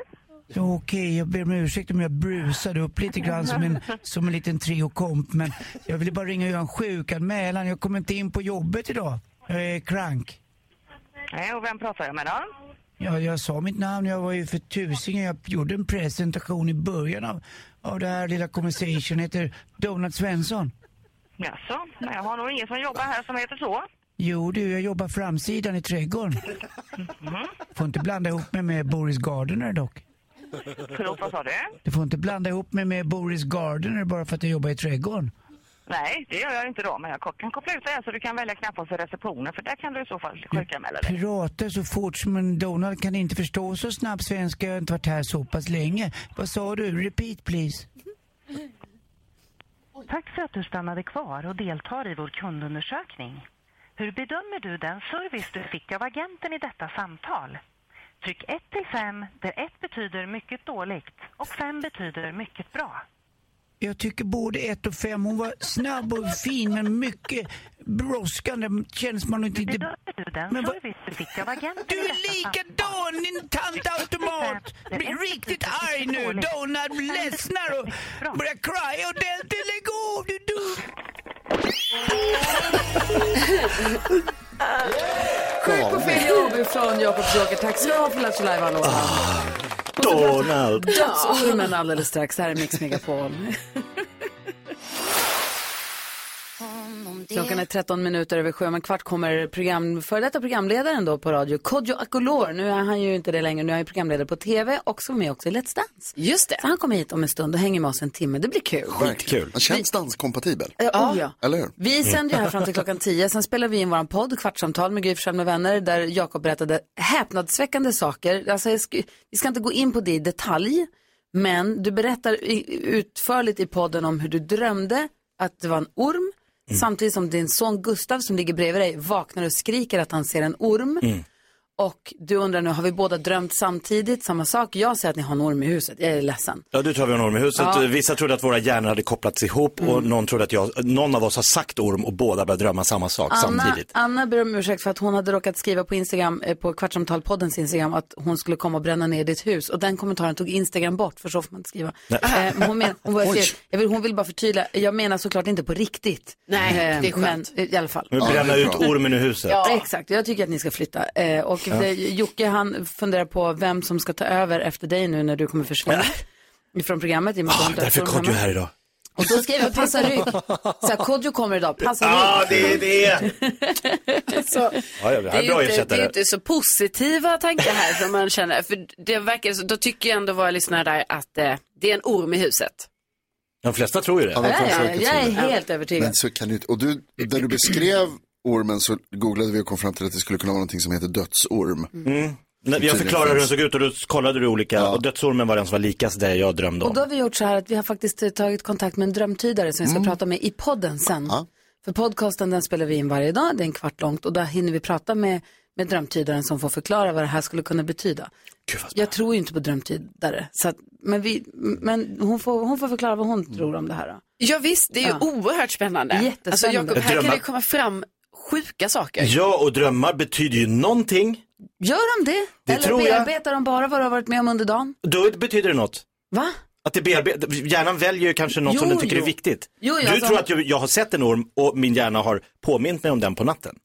Speaker 9: Ja, Okej, jag ber om ursäkt om jag brusade upp lite grann som en, som en liten triokomp. Men jag ville bara ringa och göra en sjukanmälan. Jag kom inte in på jobbet idag. Jag är krank.
Speaker 8: Nej, och vem pratar jag med då?
Speaker 9: Ja, jag sa mitt namn. Jag var ju för tusingen. Jag gjorde en presentation i början av, av det här lilla conversation. Jag heter Donald Svensson.
Speaker 8: Jaså, nej, jag har nog ingen som jobbar här som heter så.
Speaker 9: Jo du, jag jobbar framsidan i trädgården.
Speaker 8: Mhm.
Speaker 9: Får inte blanda ihop mig med Boris Gardner dock.
Speaker 8: Förlåt, vad sa du?
Speaker 9: Du får inte blanda ihop mig med Boris Gardner bara för att jag jobbar i trädgården.
Speaker 8: Nej, det gör jag inte då, men jag kan koppla ut dig här så du kan välja knappen för receptionen, för där kan du i så fall sjukanmäla dig.
Speaker 9: Pratar så fort som en Donald kan inte förstå så snabb svenska. Jag har inte varit här så pass länge. Vad sa du? Repeat please.
Speaker 8: Tack för att du stannade kvar och deltar i vår kundundersökning. Hur bedömer du den service du fick av agenten i detta samtal? Tryck 1 till 5, där 1 betyder mycket dåligt och 5 betyder mycket bra.
Speaker 9: Jag tycker både ett och fem. Hon var snabb och fin men mycket brådskande. Känns man inte... inte...
Speaker 8: Bedömer du den
Speaker 9: Men vad-
Speaker 8: service du fick av agenten
Speaker 9: Du
Speaker 8: i
Speaker 9: är
Speaker 8: detta samtal?
Speaker 9: likadan din tantautomat! Blir riktigt arg nu. Donald ledsnar och börjar cry ordentligt. Lägg av du dum!
Speaker 1: Sjuk på fel jobb ifrån Jakob Joker. Tack så du ha för Lattjo Lajban-låten.
Speaker 3: Donald!
Speaker 1: Dödsormen alldeles strax. Här är Mix Megapol. Klockan är 13 minuter över sju, men kvart kommer program, före detta programledaren då på radio, Kodjo Akolor. Nu är han ju inte det längre, nu är han ju programledare på tv och så med också i Let's Dance.
Speaker 5: Just det.
Speaker 1: Så han kommer hit om en stund och hänger med oss en timme, det blir kul.
Speaker 4: Verkligen. Han känns danskompatibel.
Speaker 1: Ja, oh ja.
Speaker 4: Eller hur?
Speaker 1: Vi sänder ju här fram till klockan 10, sen spelar vi in vår podd, Kvartsamtal med Gry Forssell med vänner, där Jakob berättade häpnadsväckande saker. Alltså, jag sk- vi ska inte gå in på det i detalj, men du berättar i- utförligt i podden om hur du drömde att det var en orm, samtidigt som din son Gustav som ligger bredvid dig vaknar och skriker att han ser en orm. Och du undrar nu, har vi båda drömt samtidigt, samma sak? Jag säger att ni har en orm i huset, jag är ledsen.
Speaker 3: Ja, du tror vi har en orm i huset. Vissa trodde att våra hjärnor hade kopplats ihop och någon trodde att jag, någon av oss har sagt orm och båda började drömma samma sak
Speaker 1: Anna,
Speaker 3: samtidigt.
Speaker 1: Anna ber om ursäkt för att hon hade råkat skriva på Instagram, eh, på Kvartsamtalpoddens Instagram, att hon skulle komma och bränna ner ditt hus. Och den kommentaren tog Instagram bort, för så får man inte skriva. Eh, men hon, men, hon, var, jag vill, hon vill bara förtydliga, jag menar såklart inte på riktigt.
Speaker 5: Nej, det är
Speaker 1: Men
Speaker 5: skönt.
Speaker 1: eh, i alla fall.
Speaker 3: Nu
Speaker 4: Ja,
Speaker 3: bränner
Speaker 4: det är
Speaker 3: ut
Speaker 4: bra.
Speaker 3: ormen ur huset.
Speaker 1: Exakt, jag tycker att ni ska flytta. Eh, och det, Jocke han funderar på vem som ska ta över efter dig nu när du kommer försvinna. Från programmet i och med att
Speaker 3: Ah,
Speaker 1: de döpte
Speaker 3: därför
Speaker 1: dem
Speaker 3: kom du
Speaker 1: hemma.
Speaker 3: här idag.
Speaker 1: Och då skrev jag passa rygg. Såhär, Kodjo kommer idag, passa rygg.
Speaker 3: Ja, ah, det är det!
Speaker 5: Så,
Speaker 3: Ja, ja, det
Speaker 5: Alltså, det, är
Speaker 3: här är bra
Speaker 5: ju inte, det är ju
Speaker 3: ersättare.
Speaker 5: inte så positiva tankar här som man känner. För det verkar så, då tycker jag ändå våra lyssnare där att eh, det är en orm i huset.
Speaker 3: De flesta tror ju det.
Speaker 4: Han har
Speaker 1: Ja, ja,
Speaker 4: försökt
Speaker 1: jag är
Speaker 4: till det.
Speaker 1: helt övertygad.
Speaker 4: Men så kan du inte. Och du, när du beskrev ormen så googlade vi och kom fram till att det skulle kunna vara någonting som heter dödsorm.
Speaker 1: Mm.
Speaker 3: Nej, Mm. Jag förklarade hur den såg ut och då kollade du olika och dödsormen var den som var likast det jag drömde
Speaker 1: Och då
Speaker 3: om.
Speaker 1: har vi gjort så här att vi har faktiskt eh, tagit kontakt med en drömtydare som vi ska prata med i podden sen. För podcasten den spelar vi in varje dag, det är en kvart långt och där hinner vi prata med, med drömtydaren som får förklara vad det här skulle kunna betyda. Jag tror ju inte på drömtydare, så att, men, vi, men hon, får, hon får förklara vad hon tror om det här. Då.
Speaker 5: Ja visst, det är ju
Speaker 1: Ja.
Speaker 5: oerhört spännande. Alltså,
Speaker 1: Jättespännande.
Speaker 5: Jakob, här kan
Speaker 3: Drömmar.
Speaker 5: det ju komma fram sjuka saker.
Speaker 3: Ja, och drömmar betyder ju någonting.
Speaker 1: Gör de det?
Speaker 3: Det
Speaker 1: Eller
Speaker 3: tror jag.
Speaker 1: bearbetar de bara vad du har varit med om under dagen?
Speaker 3: Då betyder det något.
Speaker 1: Va?
Speaker 3: Att det bearbetar, hjärnan väljer ju kanske något
Speaker 1: Jo,
Speaker 3: som den tycker
Speaker 1: jo.
Speaker 3: är viktigt.
Speaker 1: Jo,
Speaker 3: du
Speaker 1: jo, alltså-
Speaker 3: tror att jag, jag har sett en orm och min hjärna har påmint mig om den på natten.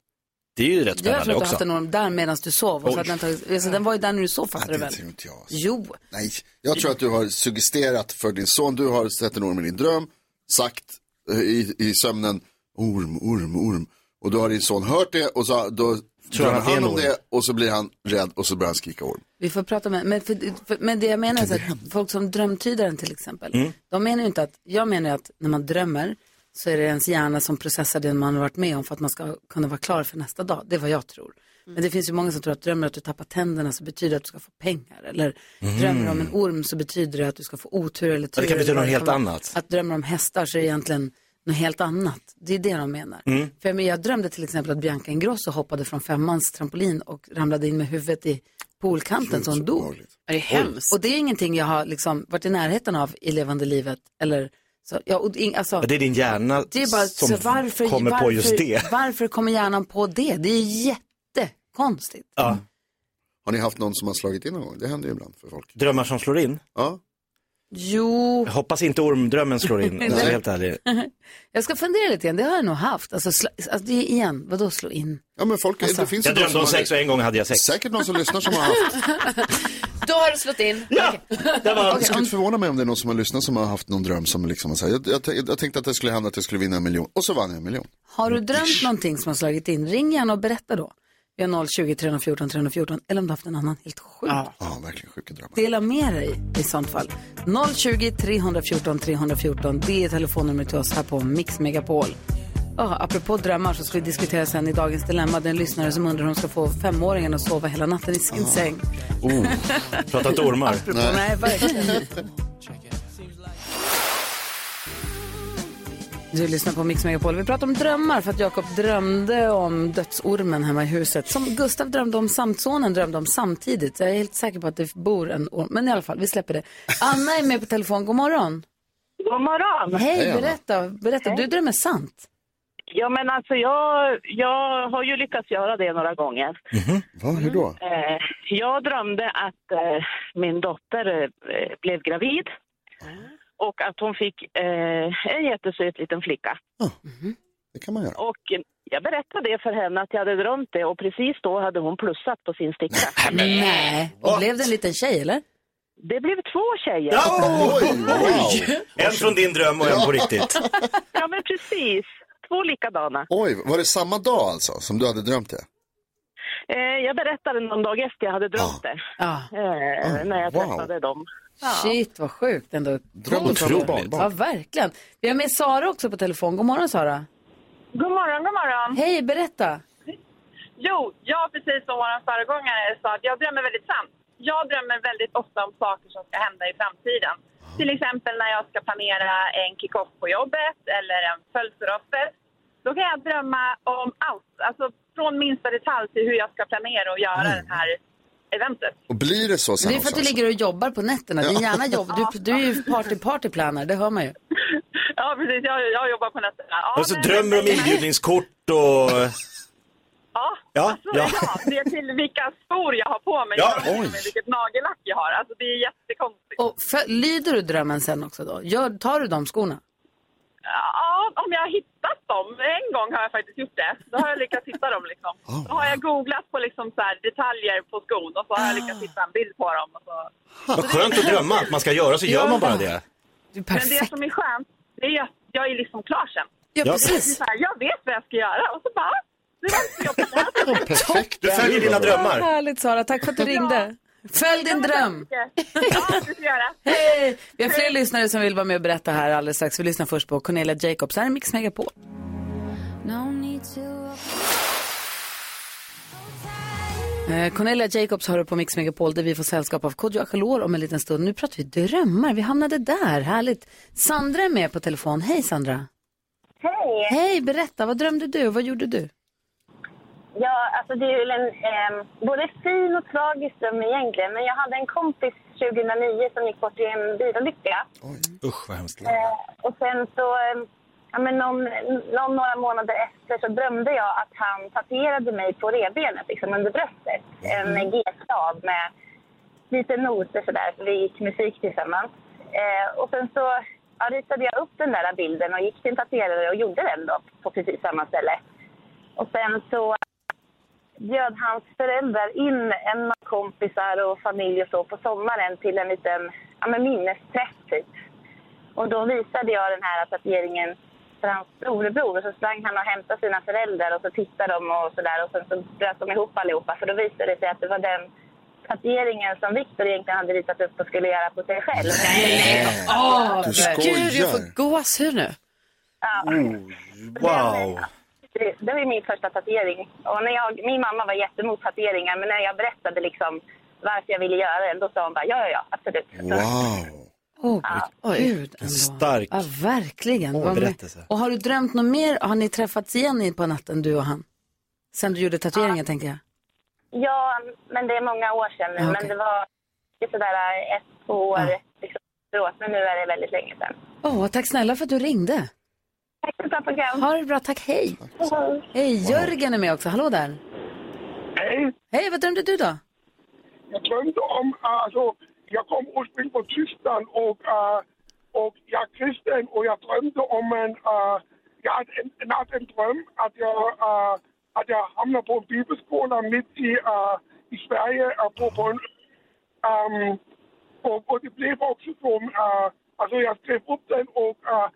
Speaker 3: Det är ju rätt
Speaker 1: Jag tror
Speaker 3: spännande
Speaker 1: att du har haft
Speaker 3: också.
Speaker 1: en orm där medan du sov. Och så att den, tagit, alltså, den var ju där när du sov fattar
Speaker 4: Nej,
Speaker 1: du
Speaker 4: det
Speaker 1: väl?
Speaker 4: tror inte jag.
Speaker 1: Jo.
Speaker 4: Nej, jag tror att du har suggesterat för din son. Du har sett en orm i din dröm, sagt eh, i, i sömnen orm, orm, orm. Och då har din son hört det och så, då tror
Speaker 3: han att det är
Speaker 4: han
Speaker 3: en
Speaker 4: om
Speaker 3: orm?
Speaker 4: det och så blir han rädd och så börjar han skrika orm.
Speaker 1: Vi får prata med, men, för, för, men det jag menar är så att folk som drömtydaren till exempel,
Speaker 3: Mm.
Speaker 1: de menar ju inte att, jag menar ju att när man drömmer så är det ens hjärna som processar det man har varit med om för att man ska kunna vara klar för nästa dag. Det är vad jag tror.
Speaker 3: Mm.
Speaker 1: Men det finns ju många som tror att drömmer att du tappar tänderna så betyder det att du ska få pengar. Eller drömmer du om en orm så betyder det att du ska få otur eller
Speaker 3: Mm. Ja,
Speaker 1: tur.
Speaker 3: det kan
Speaker 1: eller
Speaker 3: betyda
Speaker 1: vad
Speaker 3: något helt
Speaker 1: vara.
Speaker 3: annat.
Speaker 1: Att drömmer om hästar så är det egentligen något helt annat. Det är det de menar. För jag, men, jag drömde till exempel att Bianca Ingrosso hoppade från femmans trampolin och ramlade in med huvudet i poolkanten så hon dog.
Speaker 5: Det är hemskt.
Speaker 1: Och det är ingenting jag har liksom varit i närheten av i levande livet. Eller, så, ja, och, in, alltså,
Speaker 3: Ja,
Speaker 1: det,
Speaker 3: Det är din hjärna
Speaker 1: är bara,
Speaker 3: som
Speaker 1: så varför,
Speaker 3: kommer
Speaker 1: varför,
Speaker 3: på just det.
Speaker 1: Varför kommer hjärnan på det? Det är jättekonstigt.
Speaker 3: Ja.
Speaker 4: Har ni haft någon som har slagit in någon gång? Det händer ju ibland för folk.
Speaker 3: Drömmar som slår in.
Speaker 4: Ja,
Speaker 1: Jo,
Speaker 3: Jag hoppas inte ormdrömmen slår in, alltså, helt ärligt.
Speaker 1: jag ska fundera lite grann. Det har jag nog haft. Alltså, sl- alltså det är igen, vadå slå in?
Speaker 4: ja men folk,
Speaker 1: Alltså,
Speaker 4: det finns ju
Speaker 3: Jag
Speaker 4: de
Speaker 3: drömde
Speaker 4: som
Speaker 3: om
Speaker 4: har-
Speaker 3: sex och en gång hade jag sex.
Speaker 4: Säkert någon som lyssnar som har haft.
Speaker 5: Då har du slått in.
Speaker 3: Ja, där var han.
Speaker 4: Det skulle inte förvåna mig om det är någon som har lyssnat som har haft någon dröm som liksom, har så här, jag, jag, tänk- jag tänkte att det skulle hända att jag skulle vinna en miljon och så vann jag en miljon.
Speaker 1: Har du drömt någonting som har slagit in, ring gärna och berätta då. Vi har 020 314 314 eller om du har haft en annan helt sjuk.
Speaker 4: Ja, verkligen sjuka drömmar.
Speaker 1: Dela med dig i sånt fall. 020 314 314, det är telefonnumret till oss här på Mix Megapol. Oh, apropå drömmar så ska vi diskutera sen i dagens dilemma. Det är en lyssnare som undrar om de ska få femåringen att sova hela natten i sin säng.
Speaker 3: Oh. Prata inte ormar.
Speaker 1: Apropå, nej. verkligen. Du lyssnar på Mix Megapol. Vi pratar om drömmar för att Jakob drömde om dödsormen hemma i huset. Som Gustav drömde om samt sonen drömde om samtidigt. Så Jag är helt säker på att det bor en orm. Men i alla fall, vi släpper det. Anna är med på telefon. God morgon.
Speaker 10: God morgon!
Speaker 1: Hej,
Speaker 4: Hej, Anna.
Speaker 1: berätta. Berätta, du drömmer sant.
Speaker 10: Ja, men alltså jag, jag har ju lyckats göra det några gånger.
Speaker 3: Mhm.
Speaker 4: Va, hur då?
Speaker 10: Eh, jag drömde att eh, min dotter eh, blev gravid och att hon fick eh, en jättesöt liten flicka.
Speaker 4: Det kan man göra.
Speaker 10: Och jag berättade det för henne att jag hade drömt det och precis då hade hon plussat på sin sticka.
Speaker 1: Nej. Mm. Och blev det en liten tjej eller?
Speaker 10: Det blev två tjejer.
Speaker 3: Oj,
Speaker 4: wow.
Speaker 3: En från din dröm och en på riktigt.
Speaker 10: Ja, men precis. Två likadana.
Speaker 4: Oj, var det samma dag alltså som du hade drömt det?
Speaker 10: Eh, jag berättade någon dag efter jag hade drömt det.
Speaker 1: Ja.
Speaker 10: Eh, när jag
Speaker 4: wow.
Speaker 10: träffade dem.
Speaker 1: Shit, vad sjukt ändå.
Speaker 4: Dröm om
Speaker 1: Otroligt.
Speaker 4: två barnbarn.
Speaker 1: Ja, verkligen. Vi har med Sara också på telefon. God morgon Sara.
Speaker 10: God morgon, god morgon.
Speaker 1: Hej, berätta.
Speaker 10: Jo, jag precis som vår föregångare sa att jag drömmer väldigt sant. Jag drömmer väldigt ofta om saker som ska hända i framtiden.
Speaker 3: Ah.
Speaker 10: Till exempel när jag ska planera en kick-off på jobbet eller en födelsedagsfest. Då kan jag drömma om allt, alltså från minsta detalj till hur jag ska planera och göra
Speaker 3: Mm.
Speaker 10: det här eventet.
Speaker 4: Och blir det så sen
Speaker 1: Det är för att
Speaker 4: också?
Speaker 1: du ligger och jobbar på nätterna. Din hjärna jobbar. Du, du är ju party, partyplaner, det hör man ju.
Speaker 10: Ja, precis. Jag, jag jobbar på nätterna. Ja,
Speaker 3: Och så
Speaker 10: nej,
Speaker 3: drömmer om
Speaker 10: men-
Speaker 3: inbjudningskort och...
Speaker 10: Ja,
Speaker 3: Ja,
Speaker 10: alltså,
Speaker 3: ja.
Speaker 10: ja. det är till vilka skor jag har på mig.
Speaker 3: Ja,
Speaker 10: Jag vet inte vilket nagellack jag har. Alltså, det är jättekonstigt.
Speaker 1: Och för, lyder du drömmen sen också då? Gör, tar du de skorna?
Speaker 10: Ja, om jag har hittat dem. En gång har jag faktiskt gjort det. Då har jag lyckats hitta dem. Liksom.
Speaker 3: Oh,
Speaker 10: Då har jag googlat på liksom så här detaljer på skon och så har jag lyckats hitta en bild på dem. Och så.
Speaker 3: Vad skönt att drömma att man ska göra, så gör man bara det.
Speaker 1: Du är
Speaker 10: Men det
Speaker 1: perfekt.
Speaker 10: som är skönt, det är ju att jag är liksom klar sen.
Speaker 3: Ja.
Speaker 1: Ja,
Speaker 10: Det är
Speaker 1: precis.
Speaker 10: Så här, jag vet vad jag ska göra och så bara... Det var inte jag planerade.
Speaker 4: Perfekt.
Speaker 3: Du följer dina
Speaker 1: Vad
Speaker 3: drömmar.
Speaker 1: härligt Sara, tack för att du ringde. Följ din dröm.
Speaker 10: Ja, det ska jag göra.
Speaker 1: Hej! Vi har fler lyssnare som vill vara med och berätta här alldeles strax. Vi lyssnar först på Cornelia Jacobs. Här är Mix Megapol.
Speaker 7: No need to
Speaker 1: Eh, Cornelia Jacobs hör på Mix Megapol där vi får sällskap av Kodjo Akolor om en liten stund. Nu pratar vi drömmar, vi hamnade där, härligt. Sandra är med på telefon, hej Sandra.
Speaker 11: Hej!
Speaker 1: Hej, berätta, vad drömde du och vad gjorde du?
Speaker 11: Ja, alltså det är väl en ehm, både fin och tragisk dröm egentligen. Men jag hade en kompis 2009 som gick bort i en bilolycka.
Speaker 3: Usch vad hemskt.
Speaker 11: Eh, och sen så, eh, ja, men någon, någon, några månader efter så drömde jag att han tatuerade mig på revbenet, liksom under bröstet. En G-stav med lite noter sådär, för vi gick musik tillsammans. Eh, och sen så ja, ritade jag upp den där bilden och gick till en tatuerare och gjorde den då på precis samma ställe. Och sen så bjöd hans föräldrar in en massa kompisar och familj och så på sommaren till en liten ja, men minnesträff typ. Och då visade jag den här tatueringen för hans storebror och så sprang han och hämtade sina föräldrar och så tittade de och sådär och sen så bröt de ihop allihopa för då visade det sig att det var den tatueringen som Viktor egentligen hade ritat upp och skulle göra på sig själv.
Speaker 5: Åh,
Speaker 11: Du
Speaker 5: gud, jag
Speaker 11: skojar. Mm.
Speaker 5: får gåshud nu.
Speaker 3: Wow.
Speaker 11: Det, det var ju min första tatuering. Och när jag, min mamma var jättemot tatueringar, men när jag berättade liksom varför jag ville göra den, då sa hon bara ja, ja, ja, absolut.
Speaker 4: Wow.
Speaker 1: Åh, gud.
Speaker 3: En stark
Speaker 1: Ja, verkligen.
Speaker 3: Åh,
Speaker 1: Vad med-
Speaker 3: berättelse.
Speaker 1: Och har du drömt något mer? Har ni träffats igen i- på natten, du och han? Sen du gjorde tatueringen, tänker jag.
Speaker 11: Ja, men det är många år sedan nu,
Speaker 1: Ja,
Speaker 11: men det var ju sådär ett, två år
Speaker 1: Ah.
Speaker 11: liksom, efteråt, men nu är det väldigt länge sedan.
Speaker 1: Åh, tack snälla för att du ringde.
Speaker 11: Tack för ett bra program.
Speaker 1: Ha det bra, tack, hej.
Speaker 11: Hej.
Speaker 1: Hej, Jörgen är med också. Hallå där.
Speaker 12: Hej.
Speaker 1: Hej, vad drömde du då?
Speaker 12: Jag drömde om, alltså, jag kom ursprungligen från Tyskland och, äh, och jag är kristen och jag drömde om en, äh, jag hade en, en, haft en dröm att jag, äh, att jag hamnar på en bibelskola mitt i, äh, i Sverige äh, på, på en, ähm, och, och det blev också som, äh, alltså jag skrev upp den och äh,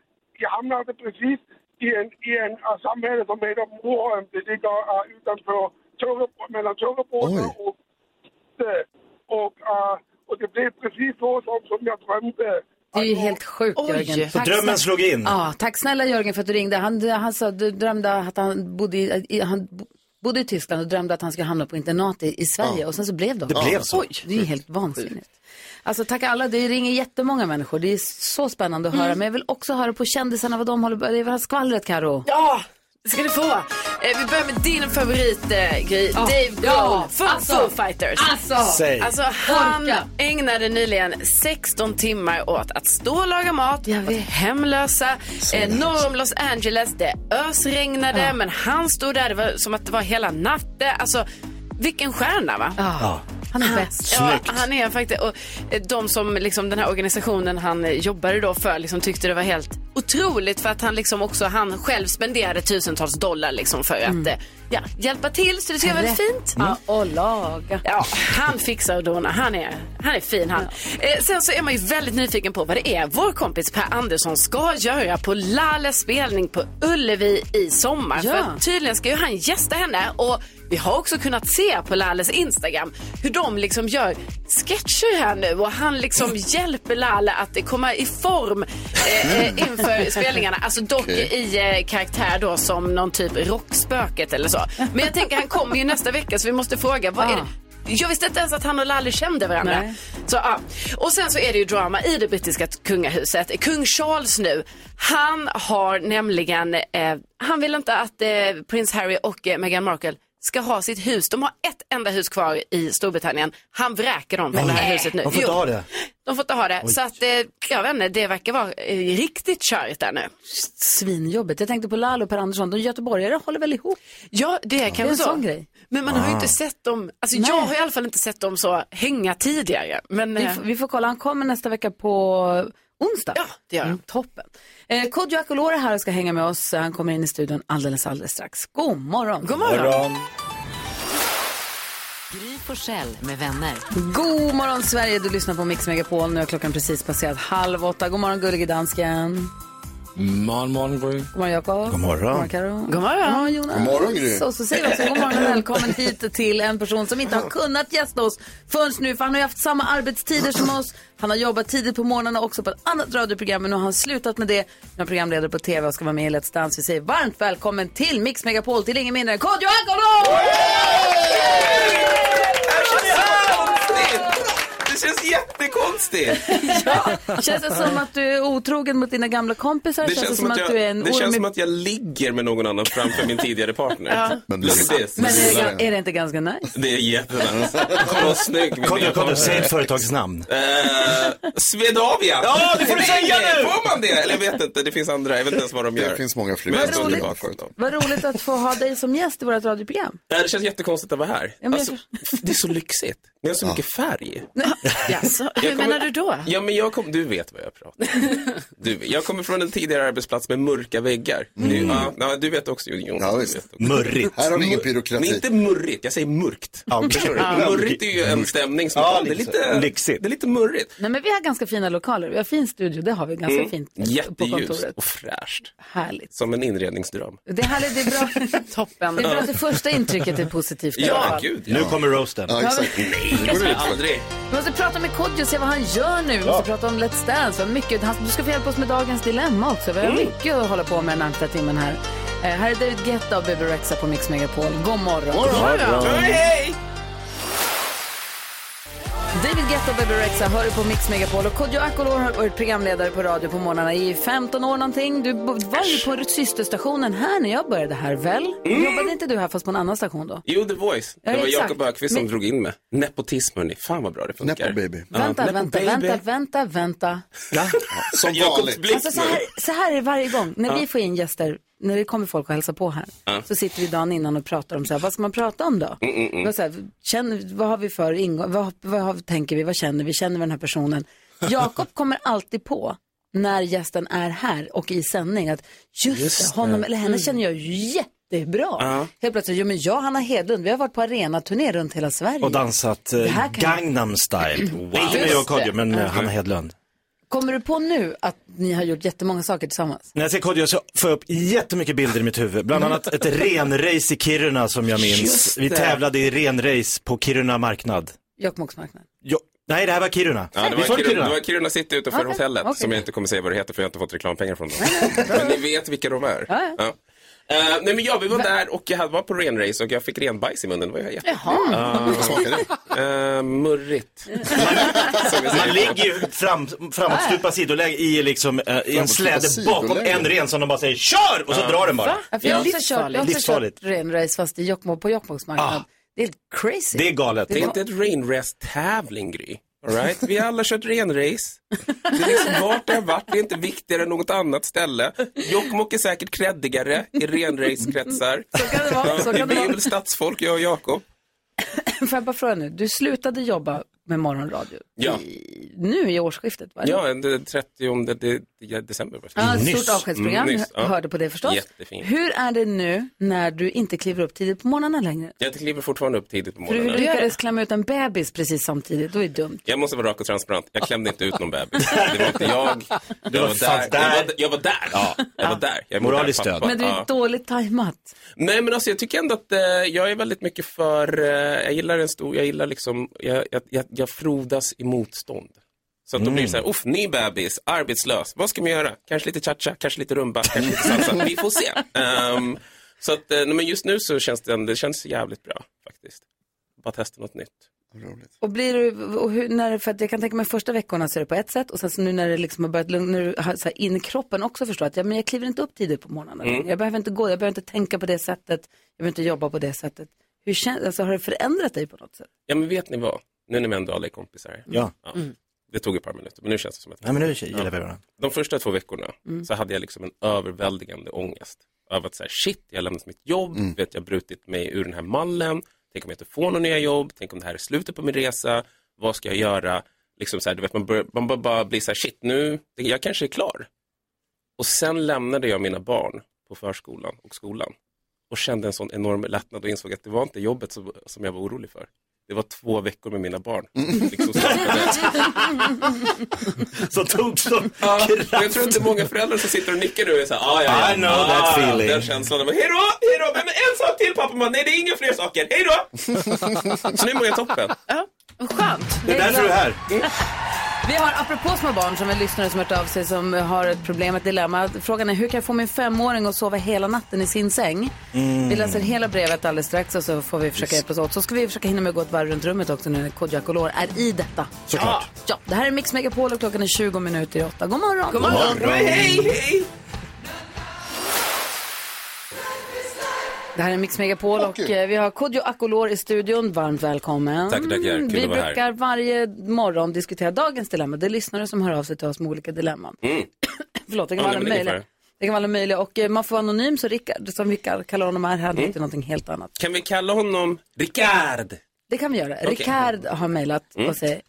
Speaker 12: jag hamnade precis i en, i en äh, samhälle som heter Moholm. Det ligger äh, utanför, Törre- mellan Töreboda och det. Och, äh, och det blev precis så som, som jag drömde.
Speaker 1: Det är ju helt sjukt,
Speaker 12: Oj.
Speaker 1: Jörgen.
Speaker 12: Så
Speaker 1: Tack
Speaker 12: drömmen
Speaker 1: snälla-
Speaker 12: slog in.
Speaker 1: Ja, tack snälla Jörgen för att du ringde. Han, han sa, du drömde att han bodde i, i- han bo- bodde i Tyskland och drömde att han skulle hamna på internat i, i Sverige och sen så blev de.
Speaker 5: Det blev så.
Speaker 1: Oj, det är ju helt vansinnigt. Alltså tack alla, det ringer jättemånga människor. Det är så spännande att höra.
Speaker 5: Mm.
Speaker 1: Men jag vill också höra på kändisarna vad de håller på Det är väl skvallret Karo?
Speaker 5: Ja, det ska ni få. Eh, vi börjar med din favorit, eh, Gry.
Speaker 1: Ja.
Speaker 5: Dave Grohl
Speaker 1: Ja,
Speaker 5: från
Speaker 1: alltså.
Speaker 5: Foo Fighters.
Speaker 1: Alltså.
Speaker 3: Säg.
Speaker 5: alltså han ägnade nyligen 16 timmar åt att stå och laga mat, åt hemlösa, eh, norr om Los Angeles. Det ösregnade, men han stod där. Det var som att det var hela natten. Alltså, vilken stjärna va?
Speaker 1: Ja. Han är bäst.
Speaker 5: Ja, han är faktiskt, och eh, de som liksom den här organisationen han eh, jobbade då för liksom tyckte det var helt otroligt för att han liksom också, han själv spenderade tusentals dollar liksom för att eh, ja, hjälpa till så det ska vara väldigt
Speaker 1: Mm. Rätt. Mm.
Speaker 5: fint.
Speaker 1: Ja, och laga.
Speaker 5: Ja, han fixar och donar. Han är, han är fin han. Eh, sen så är man ju väldigt nyfiken på vad det är vår kompis Per Andersson ska göra på Lales spelning på Ullevi i sommar.
Speaker 1: Ja.
Speaker 5: För att tydligen ska ju han gästa henne och vi har också kunnat se på Lales Instagram hur de liksom gör sketcher här nu och han liksom hjälper Lale att komma i form eh, eh, inför spelningarna. Alltså dock
Speaker 1: Okej.
Speaker 5: i eh, karaktär då som någon typ rockspöket eller så. Men jag tänker han kommer ju nästa vecka så vi måste fråga vad är det? Jag visste inte ens att han och Lalle kände varandra.
Speaker 1: Nej.
Speaker 5: Så, ja. Och sen så är det ju drama i det brittiska kungahuset. Kung Charles nu, han har nämligen, eh, han vill inte att eh, prins Harry och eh, Meghan Markle ska ha sitt hus. De har ett enda hus kvar i Storbritannien. Han vräker dem från det här huset nu.
Speaker 3: Man får inte
Speaker 5: Jo,
Speaker 3: ha det.
Speaker 5: De får inte ha det.
Speaker 3: Oj.
Speaker 5: Så att, eh, jag vet inte, det verkar vara eh, riktigt körigt där nu.
Speaker 1: Svinjobbigt. Jag tänkte på Lalo och Per Andersson. De göteborgare håller väl ihop?
Speaker 5: Ja, det är
Speaker 1: Det är en
Speaker 5: kanske så.
Speaker 1: sån grej.
Speaker 5: Men man har ju inte sett dem, alltså
Speaker 1: Nej.
Speaker 5: jag har i alla fall inte sett dem så hänga tidigare. Men,
Speaker 1: Vi,
Speaker 5: eh,
Speaker 1: får- vi får kolla, han kommer nästa vecka på onsdag. Ja,
Speaker 5: det gör han.
Speaker 1: toppen. Eh, Kodjo Akolor är här och ska hänga med oss. Han kommer in i studion alldeles, alldeles strax. God morgon.
Speaker 5: God morgon. Morgon.
Speaker 13: Gry Forssell med vänner.
Speaker 1: God morgon Sverige, du lyssnar på Mix Megapol. Nu har klockan precis passerat halv åtta. God morgon gullige dansken.
Speaker 2: Morgen, morgen, Gry.
Speaker 1: God morgon Jakob. God
Speaker 2: morgon.
Speaker 1: God morgon, Karo.
Speaker 2: God morgon.
Speaker 1: God morgon Jonas.
Speaker 2: God morgon, Gry.
Speaker 1: Så, så säger vi också god morgon och välkommen hit till en person som inte har kunnat gästa oss förrän nu. För han har ju haft samma arbetstider som oss. Han har jobbat tidigt på morgnarna också på ett annat radioprogram. Men nu har han slutat med det. Nu är han programledare på tv och ska vara med i Let's Dance. Vi säger varmt välkommen till Mix Megapol till ingen mindre än Kodjo Akolor!
Speaker 14: känns jättekonstigt.
Speaker 1: ja, känns det som att du är otrogen mot dina gamla kompisar?
Speaker 14: Det känns som att
Speaker 1: du är
Speaker 14: jag,
Speaker 1: en
Speaker 14: det känns
Speaker 1: orm i...
Speaker 14: som att jag ligger med någon annan framför min tidigare partner.
Speaker 1: Ja.
Speaker 14: Men
Speaker 1: Men
Speaker 14: Precis.
Speaker 1: är det, ga- är det inte ganska nice?
Speaker 14: Det är jättenice. Kolla vad snygg min
Speaker 3: Kolla,
Speaker 14: nya
Speaker 3: kolla,
Speaker 14: partner
Speaker 3: säg
Speaker 14: är.
Speaker 3: ett företagsnamn.
Speaker 14: Eh, Swedavia!
Speaker 3: Ja, det får du säga nu!
Speaker 14: Får man det? Eller jag vet inte, det finns andra, jag vet inte ens vad de gör.
Speaker 4: Det finns många fler.
Speaker 14: Men
Speaker 1: Vad
Speaker 14: ett
Speaker 1: roligt.
Speaker 14: underbart företag.
Speaker 1: Vad roligt att få ha dig som gäst i vårt radioprogram.
Speaker 14: Nej, Eh, Det känns jättekonstigt att vara här.
Speaker 1: men jag
Speaker 14: Alltså, det är så lyxigt. Ni har så mycket färg.
Speaker 5: Jaså, hur
Speaker 14: Jag kommer-
Speaker 5: menar du då?
Speaker 14: Ja, men jag kom, du vet vad jag pratar om. Du, jag kommer från en tidigare arbetsplats med mörka väggar. Du, ja, ja, du vet också, Jon. Ja,
Speaker 4: Murrigt. Här har vi ingen
Speaker 14: Nej,
Speaker 4: pyrokrati.
Speaker 14: inte murrigt, jag säger mörkt.
Speaker 4: Ja, okej.
Speaker 14: Förstår du?
Speaker 4: Ja.
Speaker 14: Mörrigt är ju en stämning som
Speaker 4: Ja,
Speaker 14: ja, det är
Speaker 4: lyxigt.
Speaker 14: lite, det är lite mörrigt.
Speaker 1: Nej, men vi har ganska fina lokaler. Vi har fin studio, det har vi ganska
Speaker 14: Mm.
Speaker 1: fint på
Speaker 14: Jätteljust
Speaker 1: kontoret.
Speaker 14: och fräscht.
Speaker 1: Härligt.
Speaker 14: Som en inredningsdröm.
Speaker 1: Det är härligt, det är bra. Toppen. Det är bra att det första intrycket är positivt. i alla
Speaker 14: Ja,
Speaker 1: fall.
Speaker 14: gud.
Speaker 3: Nu kommer roasten.
Speaker 1: Ja, exakt.
Speaker 14: Nej, det går aldrig.
Speaker 1: Vi måste prata med Kodjo och se vad han gör nu. Vi måste prata om Let's Dance. Vad mycket. Han, du ska få hjälpa oss med dagens dilemma också. Vi har mycket att hålla på med den närmsta timmen här. Eh, här är David Guetta och Bebe Rexha på Mix Megapol. God morgon.
Speaker 7: God morgon. Hej!
Speaker 1: David Guetta och Bebe Rexha hör du på Mix Megapol. Och Kodjo Akolor har varit programledare på radio på morgnarna i 15 år någonting. Du bo- var ju på systerstationen här när jag började här väl?
Speaker 14: Mm.
Speaker 1: Jobbade inte du här fast på en annan station då?
Speaker 14: Jo, The Voice.
Speaker 1: Ja,
Speaker 14: Det var
Speaker 1: exakt.
Speaker 14: Jakob Ökvist som
Speaker 1: Men-
Speaker 14: drog in mig. Nepotism, hörni. Fan vad bra det funkar. Nepo baby.
Speaker 1: Vänta, vänta, vänta, vänta, vänta.
Speaker 14: Som Jakobs blick
Speaker 1: Alltså, så, här, så här är det varje gång. När
Speaker 14: Ja.
Speaker 1: vi får in gäster, när det kommer folk och hälsar på här,
Speaker 14: Ja.
Speaker 1: så sitter vi dagen innan och pratar om så här, vad ska man prata om då?
Speaker 14: Mm, mm, mm.
Speaker 1: Vad, så här, känner, vad har vi för ingång, vad, vad har, tänker vi, vad känner vi, känner vi den här personen? Jakob kommer alltid på när gästen är här och i sändning att just, det, honom eller henne känner jag ju
Speaker 14: Mm.
Speaker 1: jättebra.
Speaker 3: Ja.
Speaker 1: Helt plötsligt, jo men jag och Hanna Hedlund, vi har varit på arenaturné runt hela Sverige.
Speaker 3: Och dansat
Speaker 1: Det
Speaker 3: eh,
Speaker 1: här kan-
Speaker 3: Gangnam style. Wow. Inte med
Speaker 1: Just
Speaker 3: jag och Kodjo,
Speaker 1: det.
Speaker 3: men eh,
Speaker 1: Mm.
Speaker 3: Hanna Hedlund.
Speaker 1: Kommer du på nu att ni har gjort jättemånga saker tillsammans?
Speaker 3: När jag ser Kodjo så får jag upp jättemycket bilder i mitt huvud. Bland annat ett renrace i Kiruna som jag minns.
Speaker 1: Just
Speaker 3: Vi
Speaker 1: det.
Speaker 3: tävlade i renrace på Kiruna marknad.
Speaker 1: Jokkmokks marknad.
Speaker 3: Jo, nej, det här var Kiruna.
Speaker 14: Ja, det,
Speaker 3: Vi
Speaker 14: var
Speaker 3: får
Speaker 14: Kiruna, det var Kiruna City utanför
Speaker 1: Okej,
Speaker 14: hotellet
Speaker 1: okej.
Speaker 14: som jag inte kommer säga vad det heter för jag har inte fått reklampengar från dem. men ni vet vilka de är.
Speaker 1: Ja,
Speaker 14: Ja. Eh, nej men ja, vi var där och jag hade- var på renrace och jag fick renbajs i munnen. Det var ju jätte...
Speaker 1: Jaha.
Speaker 14: Vad smakade det? murrigt.
Speaker 3: Man ligger ju fram, framåtstupa
Speaker 1: Äh.
Speaker 3: sidoläge i, liksom, eh, i en
Speaker 14: Framåtstupa
Speaker 3: släde bakom
Speaker 14: sidoläge?
Speaker 3: en ren som de bara säger KÖR! Och så
Speaker 14: Ja.
Speaker 3: drar den bara.
Speaker 1: Ja, för jag har också kört, jag har också
Speaker 3: Livsfarligt.
Speaker 1: kört renrace fast i Jokkmokk, på Jokkmokks marknad.
Speaker 14: Ah.
Speaker 1: Det är helt crazy.
Speaker 3: Det är galet.
Speaker 14: Det är inte ett renrace-tävling, Gry. All right? Vi har alla kört renrace. Det är liksom vart det har varit, det är inte viktigare än något annat ställe. Jokkmokk är säkert creddigare i renrace-kretsar. Så
Speaker 1: kan det vara, så kan det
Speaker 14: Vi är
Speaker 1: vara.
Speaker 14: väl stadsfolk, jag och Jakob.
Speaker 1: Får jag bara fråga nu, du slutade jobba med morgonradio
Speaker 14: Ja.
Speaker 1: nu i årsskiftet? Va?
Speaker 14: Ja, den 30 de- de- de- december. var det.
Speaker 1: Ja, ett stort avskedsprogram,
Speaker 14: Mm, nyss, ja.
Speaker 1: hörde på det förstås.
Speaker 14: Jättefint.
Speaker 1: Hur är det nu när du inte kliver upp tidigt på morgnarna längre?
Speaker 14: Jag kliver fortfarande upp tidigt på
Speaker 1: För du
Speaker 14: morgonen.
Speaker 1: lyckades klämma ut en bebis precis samtidigt, då är det dumt.
Speaker 14: Jag måste vara rak och transparent. Jag klämde inte ut någon bebis. Det var inte jag. Jag
Speaker 3: var
Speaker 14: var
Speaker 3: fanns
Speaker 14: där. Jag var, jag var där. Ja, jag var där. Jag är
Speaker 3: Moraliskt
Speaker 14: modern pappa.
Speaker 1: Men du är
Speaker 14: Ja.
Speaker 1: dåligt tajmat.
Speaker 14: Nej men alltså jag tycker ändå att eh, jag är väldigt mycket för, eh, jag gillar en stor, jag gillar liksom, jag, jag, jag, jag frodas i motstånd. Så att då blir det så här, uff, ny bebis, arbetslös, vad ska man göra? Kanske lite cha-cha, kanske lite rumba, kanske lite salsa, vi får se. Ehm, så att, eh, nej, men just nu så känns det, det känns jävligt bra faktiskt. Bara testa något nytt.
Speaker 1: Och blir du, och hur, när, för att jag kan tänka mig första veckorna så är det på ett sätt och sen så nu när det liksom har börjat lugna, när du har så här in i kroppen också förstår att ja, men jag kliver inte upp tidigt på morgnarna
Speaker 14: Mm.
Speaker 1: längre. Jag behöver inte gå, jag behöver inte tänka på det sättet, jag behöver inte jobba på det sättet. Hur känns, alltså har det förändrat dig på något sätt?
Speaker 14: Ja men vet ni vad, nu när vi ändå alla är kompisar.
Speaker 3: Ja.
Speaker 1: Mm.
Speaker 14: Det tog ett par minuter, men nu känns det som att
Speaker 3: Nej, men nu gillar vi varandra.
Speaker 14: De första två veckorna
Speaker 3: Mm.
Speaker 14: så hade jag liksom en överväldigande ångest. Över att så här, shit, jag har lämnat mitt jobb,
Speaker 3: Mm.
Speaker 14: vet, jag har brutit mig ur den här mallen. Tänk om jag inte får några nya jobb, tänk om det här är slutet på min resa. Vad ska jag göra? Liksom så här, du vet, man, bör, man bör bara blir så här, shit nu, jag kanske är klar. Och sen lämnade jag mina barn på förskolan och skolan. Och kände en sån enorm lättnad och insåg att det var inte jobbet som, som jag var orolig för. Det var två veckor med mina barn.
Speaker 3: Mm.
Speaker 14: Liksom, så-
Speaker 1: Mm.
Speaker 3: Så tog som
Speaker 14: Ja, men jag tror inte många föräldrar som sitter och nickar nu är såhär, ah, ja, ja,
Speaker 3: I know
Speaker 14: ah,
Speaker 3: that feeling.
Speaker 14: Den känslan av, hejdå, hejdå, men en sak till pappa, man, nej det är inga fler saker, hejdå. Så nu mår jag toppen.
Speaker 5: Ja, vad skönt.
Speaker 14: Det är därför du är här.
Speaker 1: Vi har, apropå små barn, som en lyssnare som hört av sig som har ett problem, ett dilemma. Frågan är hur kan jag få min femåring att sova hela natten i sin säng?
Speaker 15: Mm.
Speaker 1: Vi läser hela brevet alldeles strax och så får vi försöka
Speaker 15: Yes.
Speaker 1: hjälpas åt. Så ska vi försöka hinna med att gå ett varv runt rummet också nu när Kodjo Akolor är i detta.
Speaker 15: Såklart.
Speaker 1: Ja. ja, det här är Mix Megapol och klockan är 20 minuter i åtta. God morgon!
Speaker 15: God morgon. God morgon. Hej, hej.
Speaker 1: Det här är Mix Megapol och eh, vi har Kodjo Akolor i studion. Varmt välkommen.
Speaker 14: Tack, tackar. Kul
Speaker 1: Vi
Speaker 14: att vara här.
Speaker 1: brukar varje morgon diskutera dagens dilemma. Det är lyssnare som hör av sig till oss med olika dilemman.
Speaker 14: Mm.
Speaker 1: Förlåt, det kan
Speaker 14: Ja, nej,
Speaker 1: vara alla
Speaker 14: men det är
Speaker 1: möjliga.
Speaker 14: ungefär.
Speaker 1: Det kan vara alla möjliga och eh, man får vara anonym så Rickard, som vi kall- kallar honom här,
Speaker 14: Mm.
Speaker 1: han heter någonting helt annat.
Speaker 14: Kan vi kalla honom Rickard?
Speaker 1: Det kan vi göra.
Speaker 14: Okej.
Speaker 1: Rickard har mejlat
Speaker 14: Mm.
Speaker 1: och säger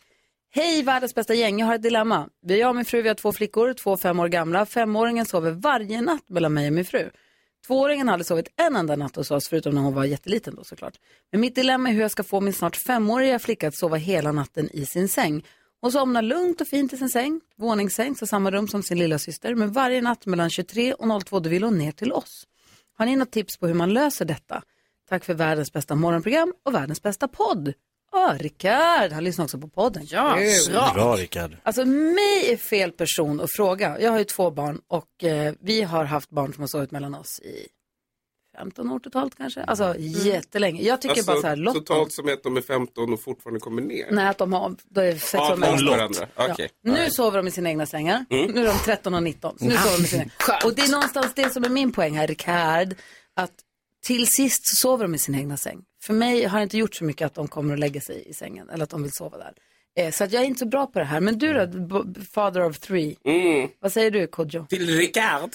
Speaker 1: Hej världens bästa gäng, jag har ett dilemma. Vi- Jag och min fru vi har två flickor, två fem år gamla. Femåringen sover varje natt mellan mig och min fru. Tvååringen har aldrig sovit en enda natt hos oss, förutom när hon var jätteliten då såklart. Men mitt dilemma är hur jag ska få min snart femåriga flicka att sova hela natten i sin säng. Hon somnar lugnt och fint i sin säng, våningssäng, så samma rum som sin lilla syster. Men varje natt mellan 23 och 02 då vill hon ner till oss. Har ni något tips på hur man löser detta? Tack för världens bästa morgonprogram och världens bästa podd. Ja, Rickard, han lyssnar också på podden.
Speaker 6: Ja,
Speaker 1: Kul.
Speaker 3: Bra Rickard.
Speaker 1: Alltså mig är fel person att fråga. Jag har ju två barn och eh, vi har haft barn som har sovit mellan oss i 15 år totalt kanske. Alltså jättelänge. Jag tycker bara så här, låt
Speaker 14: Alltså, Totalt som att de är 15 och fortfarande kommer ner.
Speaker 1: Nej, att de har då är sex
Speaker 14: Ja,
Speaker 1: år mellan
Speaker 14: de
Speaker 1: oss.
Speaker 14: varandra. Okej.
Speaker 1: Nu
Speaker 14: All right.
Speaker 1: sover de i sina egna sängar.
Speaker 14: Mm.
Speaker 1: Nu är de 13 och 19. Så nu
Speaker 14: Mm.
Speaker 1: sover de i sina... Och det är någonstans det som är min poäng här, Rickard. Att till sist så sover de i sin egna säng. För mig har det inte gjort så mycket att de kommer att lägga sig i sängen eller att de vill sova där. Eh, så att jag är inte så bra på det här. Men du då, b- father of three.
Speaker 14: Mm.
Speaker 1: Vad säger du, Kodjo?
Speaker 14: Till Rickard.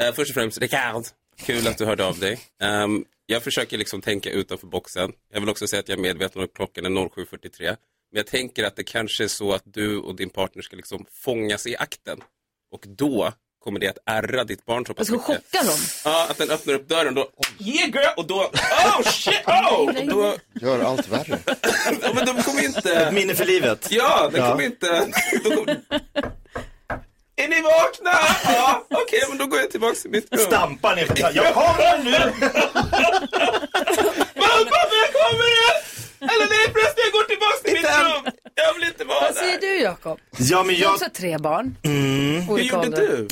Speaker 14: Eh, först och främst, Rickard, kul att du hörde av dig. Ehm, jag försöker liksom tänka utanför boxen. Jag vill också säga att jag är medveten om att klockan är 07.43. Men jag tänker att det kanske är så att du och din partner ska liksom fångas i akten. Och då kommer det att ärra ditt barn så
Speaker 1: Jag
Speaker 14: pass
Speaker 1: ska chocka dem.
Speaker 14: Ja, att den öppnar upp dörren då. Yeah girl! Och då, oh shit! Oh! Och då,
Speaker 4: Gör allt värre.
Speaker 14: ja, men de kommer inte... Ett
Speaker 3: minne för livet.
Speaker 14: Ja, de
Speaker 3: Ja.
Speaker 14: kommer inte... de kommer- Är ni vakna? Ja, okej, men då går jag tillbaka till mitt rum.
Speaker 3: Stampar ner. Ja, jag kommer
Speaker 14: nu! Mamma, jag kommer! Eller nej förresten, jag går tillbaka till mitt rum. Jag vill inte vara
Speaker 1: Mm. Vad
Speaker 14: där.
Speaker 1: säger du, Jakob?
Speaker 3: Ja, men
Speaker 1: Du har
Speaker 3: jag-
Speaker 1: också tre barn.
Speaker 3: Mm.
Speaker 1: Hur gjorde åldrar. du?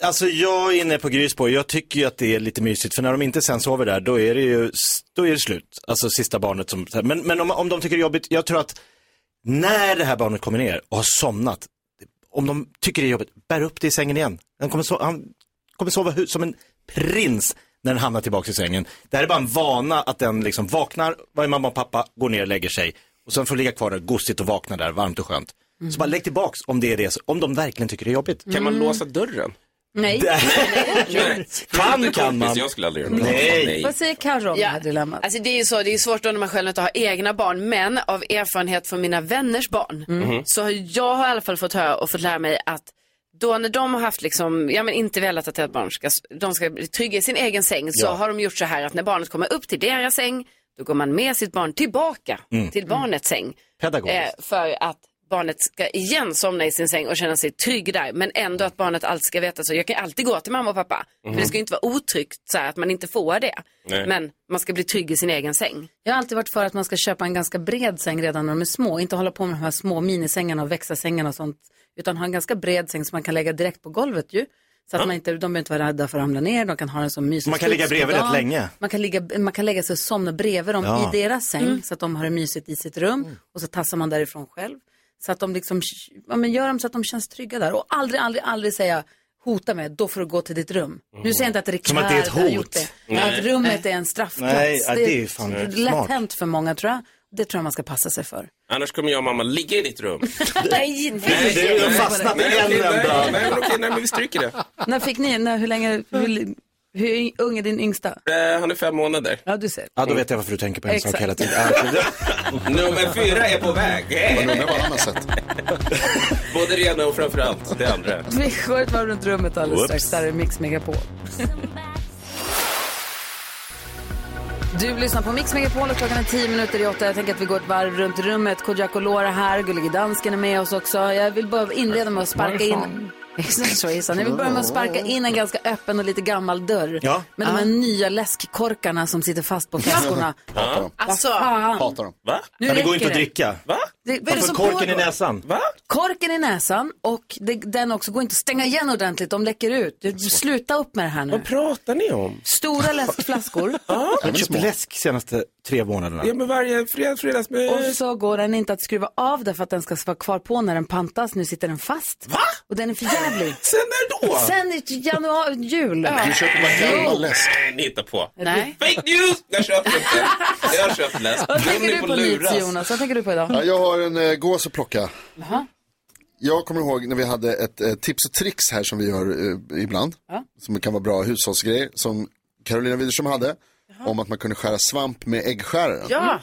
Speaker 3: Alltså jag är inne på Grys spår. Jag tycker ju att det är lite mysigt för när de inte sen sover där då är det ju då är det slut. Alltså sista barnet som, men, men om, om de tycker det är jobbigt, jag tror att när det här barnet kommer ner och har somnat, om de tycker det är jobbigt, bär upp det i sängen igen. Han kommer, so- han kommer sova hu- som en prins när den hamnar tillbaka i sängen. Det här är bara en vana att den liksom vaknar, vad är mamma och pappa, går ner och lägger sig. Och sen får ligga kvar där gosigt och vakna där, varmt och skönt. Så bara lägg tillbaks om det är det, om de verkligen tycker det är jobbigt.
Speaker 1: Kan man Mm. låsa
Speaker 14: dörren?
Speaker 1: Nej.
Speaker 14: Nej.
Speaker 3: Fan kan man.
Speaker 14: Jag skulle aldrig göra det.
Speaker 3: Nej.
Speaker 1: Vad säger Carro om det här dilemmat?
Speaker 5: Alltså det är ju så, det är ju svårt då när man själv inte har egna barn, men av erfarenhet från mina vänners barn,
Speaker 12: Mm.
Speaker 15: Mhm.
Speaker 5: så har jag har i alla fall fått höra och fått lära mig att då när de har haft liksom, ja men inte velat att deras barn ska, de ska bli trygga i sin egen säng, så
Speaker 15: Ja.
Speaker 5: har de gjort så här att när barnet kommer upp till deras säng, då går man med sitt barn tillbaka
Speaker 15: Mm.
Speaker 5: till barnets säng.
Speaker 15: Pedagogiskt.
Speaker 5: Eh, för att barnet ska igen somna i sin säng och känna sig trygg där. Men ändå att barnet alltid ska veta så. Jag kan alltid gå till mamma och pappa.
Speaker 1: Mhm.
Speaker 5: För det ska ju inte vara otryggt så här, att man inte får det.
Speaker 1: Nej.
Speaker 5: Men man ska bli trygg i sin egen säng.
Speaker 1: Jag har alltid varit för att man ska köpa en ganska bred säng redan när de är små. Inte hålla på med de här små minisängarna och växa-sängarna och sånt. Utan ha en ganska bred säng som man kan lägga direkt på golvet ju. Så att man inte, de behöver inte vara rädda för att ramla ner, de kan ha den som mysig
Speaker 3: Man kan
Speaker 1: studs
Speaker 3: ligga
Speaker 1: på
Speaker 3: bredvid rätt
Speaker 1: dagen.
Speaker 3: länge.
Speaker 1: Man kan, ligga, man kan lägga sig och somna bredvid dem
Speaker 3: Ja. Mm.
Speaker 1: i deras säng
Speaker 5: Mm.
Speaker 1: så att de har det mysigt i sitt rum. Och så tassar man därifrån själv. Så att de liksom, ja, men gör dem så att de känns trygga där. Och aldrig, aldrig, aldrig säga hota med, då får du gå till ditt rum. Nu säger jag inte att Rickard
Speaker 3: Mm. Som att det är ett
Speaker 1: har gjort
Speaker 3: hot.
Speaker 1: det.
Speaker 3: Nej.
Speaker 1: Att rummet är en straffplats.
Speaker 3: Nej, ja, det är ju fan rätt
Speaker 1: lätt
Speaker 3: smart.
Speaker 1: hänt för många tror jag. Det tror jag man ska passa sig för.
Speaker 14: Annars kommer jag och mamma ligga i ditt rum.
Speaker 1: nej,
Speaker 14: det är fastnat i en enda. Nej, okej, nej, men vi stryker det.
Speaker 1: När fick ni, när, hur länge, hur, hur ung är din yngsta?
Speaker 14: Eh, han är fem månader.
Speaker 1: Ja, du ser.
Speaker 3: Ja, då vet jag varför du tänker på en sak
Speaker 1: Exakt.
Speaker 3: hela tiden. Ja, det-
Speaker 14: Nummer fyra är på väg.
Speaker 1: Men
Speaker 4: på ett annat
Speaker 14: Både det ena och framförallt det andra.
Speaker 1: Vi går ett varv runt rummet alldeles strax.
Speaker 14: Whoops.
Speaker 1: Där är Mix Megapol. Du lyssnar på Mix Megapol och klockan är tio minuter i åtta. Jag tänker att vi går ett varv runt rummet. Kodjo Akolora här, Gullige Dansken är med oss också. Jag vill bara inleda med att sparka in... Exakt så Isan. Jag vill börja med att sparka in en ganska öppen och lite gammal dörr.
Speaker 4: Ja.
Speaker 1: Med de här nya läskkorkarna som sitter fast på flaskorna.
Speaker 3: Hatar dem.
Speaker 1: Alltså,
Speaker 4: Hatar dem.
Speaker 14: Va?
Speaker 1: Nu
Speaker 3: Men det går
Speaker 1: räcker
Speaker 3: inte att
Speaker 1: det.
Speaker 3: dricka. Va?
Speaker 1: Det- vad är det
Speaker 3: Varför
Speaker 1: som
Speaker 3: korken i
Speaker 1: pågår?
Speaker 3: näsan? Va?
Speaker 1: Korken i näsan och det, den också går inte att stänga igen ordentligt. De läcker ut. Du, sluta upp med det här nu.
Speaker 14: Vad pratar ni om?
Speaker 1: Stora läskflaskor.
Speaker 3: Jag har köpt läsk senaste tre månaderna.
Speaker 14: Ja, men varje fred, fredagsmys.
Speaker 1: Och så går den inte att skruva av därför att den ska vara kvar på när den pantas. Nu sitter den fast. Va? Och den är för jävlig.
Speaker 14: Sen när då?
Speaker 1: Sen i januari, jul. Jo.
Speaker 4: läsk.
Speaker 14: Nej, ni hittar på.
Speaker 1: Nej.
Speaker 14: Fake news! Jag köper inte. Jag köper läsk.
Speaker 1: Vad
Speaker 14: Tror ni
Speaker 1: tänker du på
Speaker 14: luras?
Speaker 1: nytt Jonas? Vad tänker du på idag?
Speaker 4: Ja, jag har en eh, gås att plocka.
Speaker 1: Jaha.
Speaker 4: Jag kommer ihåg när vi hade ett eh, tips och tricks här som vi gör eh, ibland.
Speaker 1: Ja.
Speaker 4: Som kan vara bra hushållsgrejer. Som Carolina Widerström hade. Om att man kunde skära svamp med äggskäraren. Mm.
Speaker 6: Ja.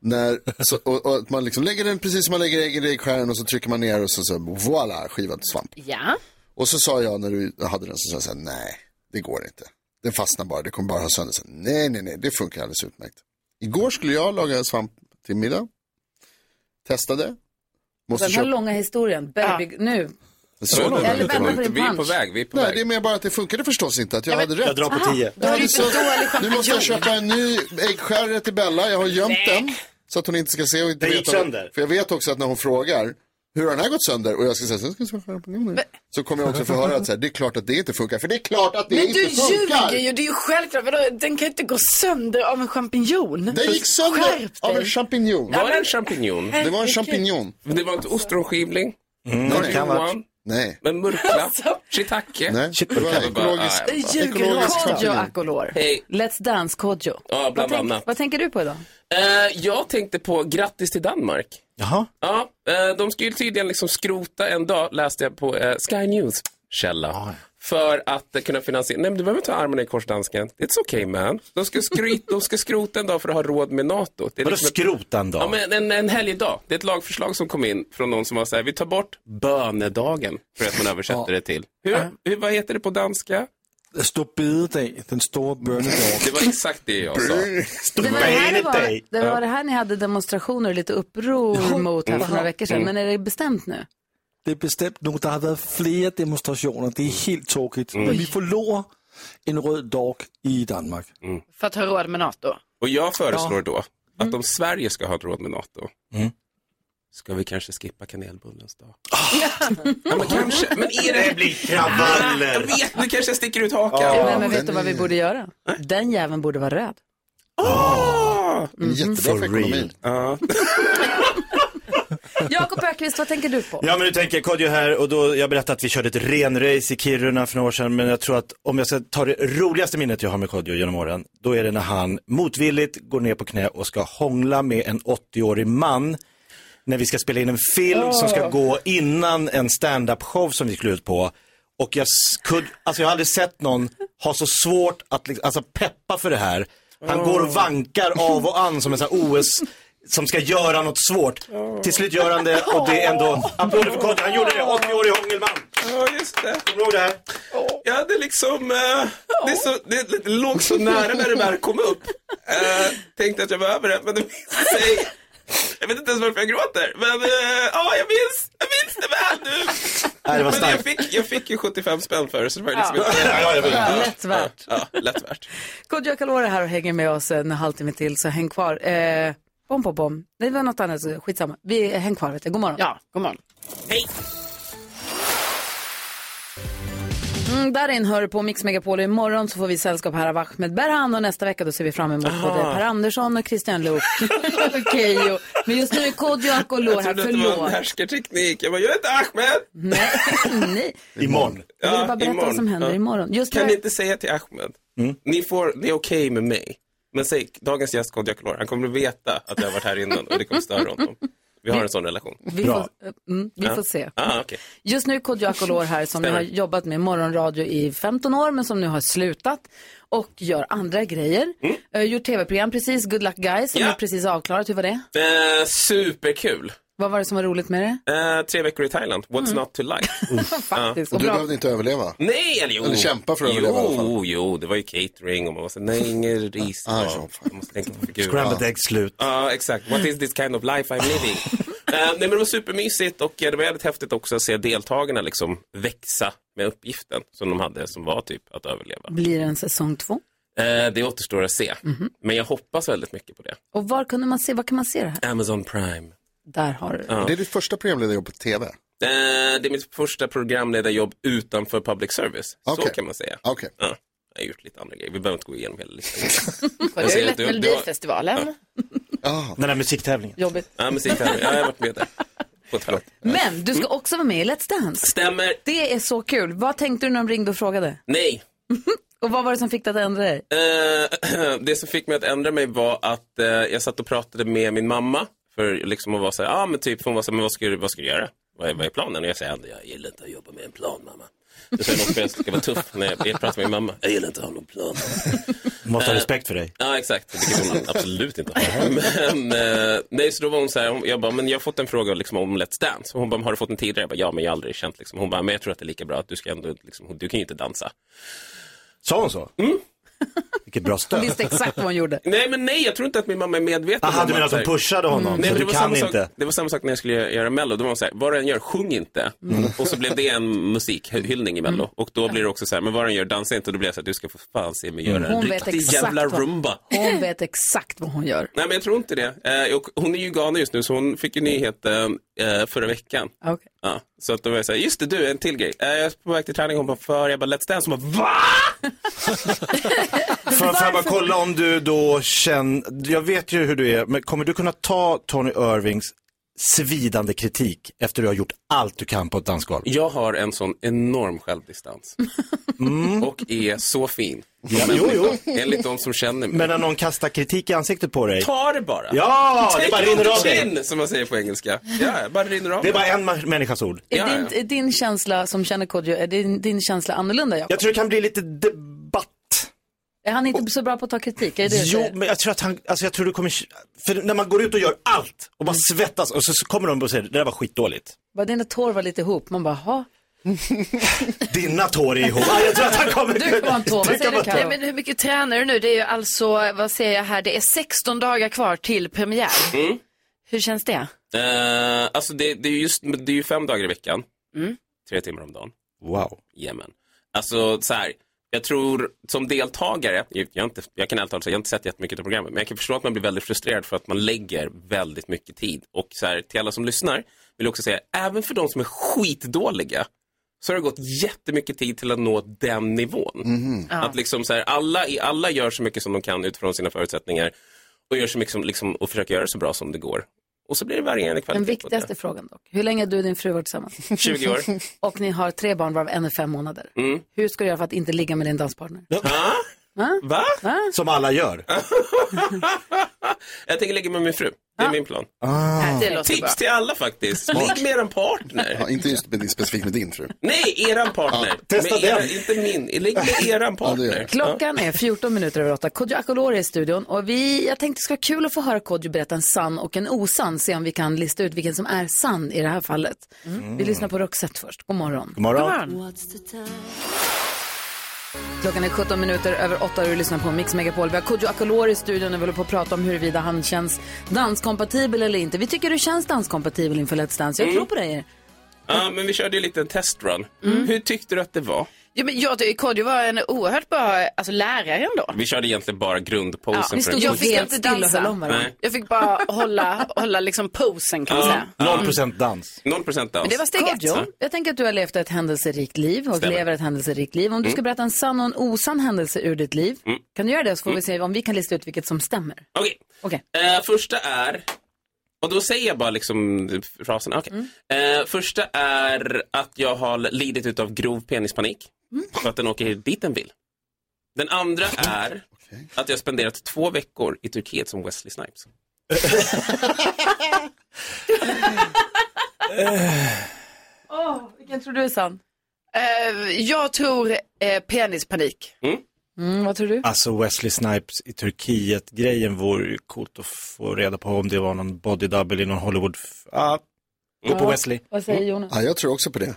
Speaker 4: När, så, och, och att man liksom lägger den precis som man lägger äggen i äggskäraren och så trycker man ner och så, så voilà, skivad svamp.
Speaker 5: Ja.
Speaker 4: Och så sa jag när du hade den så sa jag så här, nej, det går inte. Den fastnar bara, det kommer bara ha sönder sig. Nej, nej, nej, det funkar alldeles utmärkt. Igår skulle jag laga svamp till middag. Testade. Måste
Speaker 1: Den här
Speaker 4: köpa.
Speaker 1: långa historien. Baby, nu. Eller vänta på din punch.
Speaker 4: Nej, det är mer bara att det funkade förstås inte, att jag hade rätt.
Speaker 3: Jag drar på Aha, 10.
Speaker 1: då är du
Speaker 4: Så-
Speaker 1: för dålig champinjon.
Speaker 4: nu måste jag köpa en ny äggskärare till Bella, jag har gömt den. Så att hon inte ska se och inte
Speaker 3: Den
Speaker 4: veta.
Speaker 3: gick sönder.
Speaker 4: För jag vet också att när hon frågar, hur har den här gått sönder? Och jag ska säga, sen ska jag skära champinjoner. Så kommer jag också få höra att så här, det är klart att det inte funkar, för det är klart att det
Speaker 15: Men
Speaker 4: inte
Speaker 15: du
Speaker 4: funkar.
Speaker 15: ljuger ju, det är ju självklart. Vadå, den kan ju inte gå sönder av en champinjon.
Speaker 4: Den gick sönder
Speaker 15: Skärp
Speaker 4: av
Speaker 15: dig.
Speaker 4: en champinjon.
Speaker 14: Var det en champinjon?
Speaker 4: Det var en champinjon.
Speaker 14: Men Det var inte ostronskivling?
Speaker 4: Mm,
Speaker 14: Var
Speaker 4: det
Speaker 14: det
Speaker 4: kan vara.
Speaker 14: Johan?
Speaker 4: Nej.
Speaker 14: Men murkla?
Speaker 1: Alltså.
Speaker 14: Shiitake?
Speaker 4: Nej, det var
Speaker 14: Bara,
Speaker 4: ekologisk-
Speaker 14: ah, ja.
Speaker 1: Ljuger du?
Speaker 4: Ekologisk
Speaker 1: Kodjo
Speaker 4: champinjon.
Speaker 1: Akolor.
Speaker 14: Hej.
Speaker 1: Let's dance Kodjo.
Speaker 14: Ja,
Speaker 1: Vad,
Speaker 14: bland
Speaker 1: tänk,
Speaker 14: annat.
Speaker 1: vad tänker du på idag?
Speaker 14: Eh, jag tänkte på grattis till Danmark.
Speaker 3: Jaha.
Speaker 14: Ja, eh, de ska ju tydligen liksom skrota en dag, läste jag på eh, Sky News
Speaker 3: Ah,
Speaker 14: källa. För att eh, kunna finansiera, nej men du behöver inte ha armarna i kors dansken. It's okay man. De ska, skryt, de ska skrota en dag för att ha råd med NATO. Det är
Speaker 3: Vadå
Speaker 14: liksom ett-
Speaker 3: skrota en dag?
Speaker 14: Ja, men en, en helgdag. Det är ett lagförslag som kom in från någon som var så här, vi tar bort bönedagen för att man översätter det till. Hur, hur, vad heter det på danska?
Speaker 2: Stor bededag, den stora bönedagen.
Speaker 14: Det var exakt det jag sa.
Speaker 1: Det var det, här det, var, det var det här ni hade demonstrationer och lite uppror mot här för några veckor sedan.
Speaker 2: Mm.
Speaker 1: Men är det bestämt nu?
Speaker 2: Det är bestämt nu. Der har varit flera demonstrationer. Det är helt tokigt.
Speaker 3: Mm.
Speaker 2: Men vi förlorar en röd dag i Danmark.
Speaker 14: Mm.
Speaker 5: För att ha råd med NATO.
Speaker 14: Och jag föreslår då
Speaker 1: Mm.
Speaker 14: att om Sverige ska ha ett råd med NATO,
Speaker 2: Mm.
Speaker 14: ska vi kanske skippa kanelbullens dag? ja, men kanske. Men är det...
Speaker 3: Det blir kravaller.
Speaker 14: Jag vet, nu kanske jag sticker ut hakan.
Speaker 1: Nej, men vet du vad vi borde göra? Den jäveln borde vara röd.
Speaker 14: Ah!
Speaker 4: Mm. Jättebra för ekonomin.
Speaker 1: Jakob Ökvist, vad tänker du på?
Speaker 3: Ja men nu tänker jag, Kodjo här och då, jag berättade att vi körde ett renrace i Kiruna för några år sedan men jag tror att om jag ska ta det roligaste minnet jag har med Kodjo genom åren, då är det när han motvilligt går ner på knä och ska hångla med en 80-årig man när vi ska spela in en film som ska gå innan en stand-up show som vi skulle ut på. Och jag, s- kud, alltså jag har aldrig sett någon ha så svårt att liksom, alltså peppa för det här. Han går och vankar av och an som en sån här OS som ska göra något svårt. Till slut gör han det och det är ändå, applåder för Kodjo, han gjorde det, 80-årig hångelman.
Speaker 14: Ja, just det.
Speaker 3: Kommer du ihåg det här?
Speaker 14: Ja, det är liksom, eh, det, är så, det, det låg så nära när det väl kom upp. Eh, tänkte att jag var över det, men det minns sig. Jag vet inte ens varför jag gråter, men eh, ja, jag minns, jag minns det väl nu.
Speaker 3: Nej, det var
Speaker 14: men jag
Speaker 3: starkt.
Speaker 14: fick, jag fick ju 75 spänn för det, så det var ju liksom
Speaker 1: Ja.
Speaker 14: inte...
Speaker 3: Ja, jag vet.
Speaker 1: Ja, lätt värt.
Speaker 14: Ja, lätt värt.
Speaker 1: Kodjo Akolor är här och hänger med oss en halvtimme till, så häng kvar. Eh, bom, bom, bom. Nej, det var något annat, så skitsamma. Vi, eh, häng kvar, vet du. God morgon.
Speaker 5: Ja, god morgon.
Speaker 14: Hej!
Speaker 1: Mm, Darin hör du på Mix Megapol. Imorgon så får vi sällskap här av Ahmed Berhan och nästa vecka då ser vi fram emot både Per Andersson och Christian Luuk. Okej, jo. men just nu är Kodjo Akolor
Speaker 14: Jag
Speaker 1: här.
Speaker 14: trodde att det var en
Speaker 1: Förlåt.
Speaker 14: härskarteknik. Jag bara, jag heter Ahmed.
Speaker 1: Nej, nej.
Speaker 3: Imorgon.
Speaker 1: Jag ville bara berätta vad som händer imorgon. Just
Speaker 14: kan
Speaker 1: när-
Speaker 14: ni inte säga till Ahmed,
Speaker 4: Mm.
Speaker 14: ni får, det är okej med mig, men säg dagens gäst Kodjo Akolor, han kommer att veta att jag har varit här innan och det kommer störa honom. Vi har en sån relation.
Speaker 1: Vi, får, mm, vi
Speaker 14: Ja.
Speaker 1: får se.
Speaker 14: Ah, okej.
Speaker 1: Just nu är Kodjo Akolor här som nu
Speaker 14: Stämmer.
Speaker 1: har jobbat med morgonradio i 15 år men som nu har slutat och gör andra grejer. Eh, gjort tv-program precis, Good Luck Guys som
Speaker 14: Mm. Ja.
Speaker 1: är precis avklarat. Hur var det?
Speaker 14: eh, superkul.
Speaker 1: Vad var det som var roligt med det?
Speaker 14: Eh, tre veckor i Thailand, what's not to like?
Speaker 1: Mm. Faktiskt.
Speaker 4: Och
Speaker 1: Och
Speaker 4: du
Speaker 1: bra.
Speaker 4: behövde inte överleva.
Speaker 14: Nej, eller jo.
Speaker 4: Eller kämpa för att överleva i alla fall.
Speaker 14: Jo, jo, det var ju catering och man var så nej, ingen ris.
Speaker 4: Ah,
Speaker 14: Ja,
Speaker 4: så, fan.
Speaker 14: man måste tänka på figuren.
Speaker 3: Scrambled egg slut.
Speaker 14: Ja, exakt. What is this kind of life I'm living? Eh, nej, men det var supermysigt och eh, det var jävligt häftigt också att se deltagarna liksom växa med uppgiften som de hade som var typ att överleva.
Speaker 1: Blir det en säsong två?
Speaker 14: Eh, det återstår att se,
Speaker 3: Mhm.
Speaker 14: men jag hoppas väldigt mycket på det.
Speaker 1: Och var kunde man se, vad kan man se det här?
Speaker 14: Amazon Prime.
Speaker 1: Där har du det.
Speaker 14: Ja.
Speaker 4: Det är ditt första programledarjobb på TV.
Speaker 14: Eh, det är mitt första programledarjobb utanför public service. Så
Speaker 4: Okej.
Speaker 14: kan man säga.
Speaker 4: Okay.
Speaker 14: Ja. Jag har gjort lite andra grejer. Vi behöver inte gå igenom hela listan.
Speaker 15: Det
Speaker 14: Jag
Speaker 15: är
Speaker 14: ser
Speaker 15: ju
Speaker 14: att
Speaker 15: lätt
Speaker 14: du- du har-
Speaker 15: Melodifestivalen.
Speaker 3: Den där musiktävlingen.
Speaker 1: Jobbigt.
Speaker 14: Ja, musiktävling. Ja, jag har varit med där. På ett hörn.
Speaker 1: Men du ska också vara med i Let's Dance.
Speaker 14: Mm. Stämmer.
Speaker 1: Det är så kul. Vad tänkte du när de ringde och frågade?
Speaker 14: Nej.
Speaker 1: Och vad var det som fick dig att ändra dig?
Speaker 14: Eh, det som fick mig att ändra mig var att eh, jag satt och pratade med min mamma. För liksom att vara så här, ja ah, men typ, för hon var så här, men vad ska du, vad ska du göra? Vad är, vad är planen? Och jag säger aldrig, jag gillar inte att jobba med en plan mamma. Det säger något för att jag ska vara tuff när jag jag pratar med min mamma. Jag gillar inte att ha någon plan.
Speaker 3: Måste ha
Speaker 14: Eh,
Speaker 3: respekt för dig.
Speaker 14: Ja, exakt. Vilket hon absolut inte har. Men, eh, nej, så då var hon så här, hon- jag bara, men jag har fått en fråga liksom, om Let's Dance. Och hon bara, har du fått den tidigare? Jag bara, ja, men jag har aldrig känt liksom. Hon bara, men jag tror att det är lika bra att du ska ändå, liksom, du kan ju inte dansa.
Speaker 3: Sa hon så?
Speaker 14: Mm.
Speaker 3: Vilket bra stöd.
Speaker 1: gjorde.
Speaker 14: Nej, men nej, jag tror inte att min mamma är medveten.
Speaker 3: Aha,
Speaker 14: om
Speaker 3: du menar
Speaker 14: att
Speaker 3: att
Speaker 14: så
Speaker 3: hon
Speaker 14: här-
Speaker 3: pushade honom, så
Speaker 14: men
Speaker 3: du
Speaker 14: var
Speaker 3: kan
Speaker 14: samma
Speaker 3: inte.
Speaker 14: Sak, det var samma sak när jag skulle göra, göra Mello. Då var hon så här, vad du än gör, sjung inte.
Speaker 3: Mm.
Speaker 14: Och så blev det en musikhyllning i Mello. Och då blir det också så här, men vad du än gör, dansa inte. Och då blev jag så här, du ska för fan se mig
Speaker 3: Mm.
Speaker 14: göra en
Speaker 1: Hon vet,
Speaker 14: riktig
Speaker 1: exakt
Speaker 14: jävla
Speaker 1: vad,
Speaker 14: rumba.
Speaker 1: hon vet exakt vad hon gör.
Speaker 14: Nej, men jag tror inte det. Eh, och hon är ju i Ghana just nu, så hon fick ju nyheten eh, förra veckan.
Speaker 1: Okej.
Speaker 14: Ja, så att då var jag så här, just det du, en till grej. Eh, jag är på väg till träning, hon bara, för? Jag bara, Let's Dance. Hon bara, va?
Speaker 3: Får jag får jag bara kolla om du då känner, jag vet ju hur du är, men kommer du kunna ta Tony Irvings svidande kritik efter du har gjort allt du kan på ett dansgolv?
Speaker 14: Jag har en sån enorm självdistans.
Speaker 3: Mm.
Speaker 14: Och är så fin.
Speaker 3: Ja, jo, jo.
Speaker 14: Enligt de som känner mig.
Speaker 3: Men när någon kastar kritik i ansiktet på dig?
Speaker 14: Ta det bara.
Speaker 3: Ja, det
Speaker 14: Take
Speaker 3: bara
Speaker 14: it on
Speaker 3: rinner av
Speaker 14: the
Speaker 3: dig.
Speaker 14: chin, Som man säger på engelska. Ja, bara rinner av
Speaker 3: Det är
Speaker 14: mig.
Speaker 3: bara en ma- människas ord.
Speaker 1: Är, din, är din känsla som känner Kodjo, är din, din känsla annorlunda Jakob?
Speaker 3: Jag tror det kan bli lite debatt.
Speaker 1: Är han inte så bra på att ta kritik? Är det det du
Speaker 3: Jo,
Speaker 1: säger?
Speaker 3: men jag tror att han, alltså jag tror du kommer, för när man går ut och gör allt och bara svettas och så så kommer de och säger, det där var skitdåligt.
Speaker 1: Bara dina tår var lite ihop, man bara, ha.
Speaker 3: Dina tår är ihop. Ah, jag tror att han kommer...
Speaker 1: Du kommer ha en tå. Vad säger du, Karo?
Speaker 15: Nej, men hur mycket tränar du nu? Det är ju alltså, vad säger jag här, det är 16 dagar kvar till premiär.
Speaker 14: Mm.
Speaker 15: Hur känns det?
Speaker 14: Eh, alltså det, det, är ju just, det är ju fem dagar i veckan.
Speaker 3: Mm.
Speaker 14: Tre timmar om dagen.
Speaker 3: Wow.
Speaker 14: Jajamän. Alltså så här, jag tror som deltagare, jag, jag, har inte, jag kan ärligt talat säga, jag har inte sett jättemycket av programmet, men jag kan förstå att man blir väldigt frustrerad för att man lägger väldigt mycket tid. Och så här, till alla som lyssnar vill jag också säga, även för de som är skitdåliga, så har det gått jättemycket tid till att nå den nivån.
Speaker 15: Ja.
Speaker 14: Att liksom så här, alla, i- alla gör så mycket som de kan utifrån sina förutsättningar och gör så mycket som, liksom, och försöker göra det så bra som det går. Och så blir det varierande kvalitet
Speaker 1: Den
Speaker 14: på
Speaker 1: viktigaste
Speaker 14: det.
Speaker 1: frågan dock. Hur länge har du och din fru varit tillsammans?
Speaker 14: 20 år.
Speaker 1: Och ni har tre barn varav en är fem månader.
Speaker 14: Mm.
Speaker 1: Hur ska du göra för att inte ligga med din danspartner?
Speaker 14: Ah?
Speaker 1: Va?
Speaker 14: Va?
Speaker 3: Som alla gör.
Speaker 14: Jag tänker lägga med min fru. Det är min plan.
Speaker 15: Det låter
Speaker 14: Tips
Speaker 15: bra.
Speaker 14: till alla faktiskt.
Speaker 4: Ah. Smart.
Speaker 14: Ligg med eran partner.
Speaker 4: Ja, inte just med din, specifikt med din fru.
Speaker 14: Nej, eran partner.
Speaker 4: Ja, testa
Speaker 14: med era,
Speaker 4: den.
Speaker 14: Inte min. Ligg med eran
Speaker 4: Ja, det
Speaker 14: partner.
Speaker 4: gör
Speaker 1: Klockan är 14 minuter över 8. Kodjo Akolori är i studion och vi, jag tänkte det skulle vara kul att få höra Kodjo berätta en sann och en osann. Se om vi kan lista ut vilken som är sann i det här fallet. Mm. Vi lyssnar på Roxette först. God morgon.
Speaker 3: Mm. God morgon.
Speaker 1: Klockan är 17 minuter över 8 och du lyssnar på Mix Megapol. Vi har Kodjo Akolor i studion och vi håller på att prata om huruvida han känns danskompatibel eller inte. Vi tycker du känns danskompatibel inför Let's Dance. Jag
Speaker 14: Mm.
Speaker 1: tror på dig.
Speaker 14: Ja, men vi körde ju lite en testrun.
Speaker 15: Mm.
Speaker 14: Hur tyckte du att det var?
Speaker 15: Jo, men jag tycker Kodjo var en oerhört bra alltså, lärare ändå.
Speaker 14: Vi körde egentligen bara grundposen. för en
Speaker 15: jag
Speaker 14: kurs.
Speaker 15: fick inte dansa.
Speaker 14: Nej.
Speaker 15: Jag fick bara hålla, hålla liksom posen kan man säga.
Speaker 3: Noll procent dans.
Speaker 14: Noll procent dans.
Speaker 15: Men det var steg ett.
Speaker 1: Kodjo, jag tänker att du har levt ett händelserikt liv och
Speaker 14: Stämmer.
Speaker 1: lever ett händelserikt liv. Om du
Speaker 14: Mm.
Speaker 1: ska berätta en sann och en osann händelse ur ditt liv,
Speaker 14: Mm.
Speaker 1: kan du göra det så får vi se om vi kan lista ut vilket som stämmer.
Speaker 14: Okej.
Speaker 1: Okej.
Speaker 14: Eh, första är, och då säger jag bara liksom frasen. Okej.
Speaker 1: Mm.
Speaker 14: Eh, första är att jag har lidit utav grov penispanik.
Speaker 1: Mm.
Speaker 14: För att den åker dit den vill. Den andra är att jag har spenderat två veckor i Turkiet som Wesley Snipes.
Speaker 1: Åh, vilken tror du är sann?
Speaker 15: Eh, jag tror eh, penispanik.
Speaker 1: Mm, vad tror du?
Speaker 3: Alltså Wesley Snipes i Turkiet-grejen vore ju coolt att få reda på om det var någon body double i någon Hollywood... Ja, gå på
Speaker 1: Ja,
Speaker 3: Wesley.
Speaker 1: Vad säger
Speaker 14: Mm.
Speaker 1: Jonas?
Speaker 4: Ja, jag tror också på det.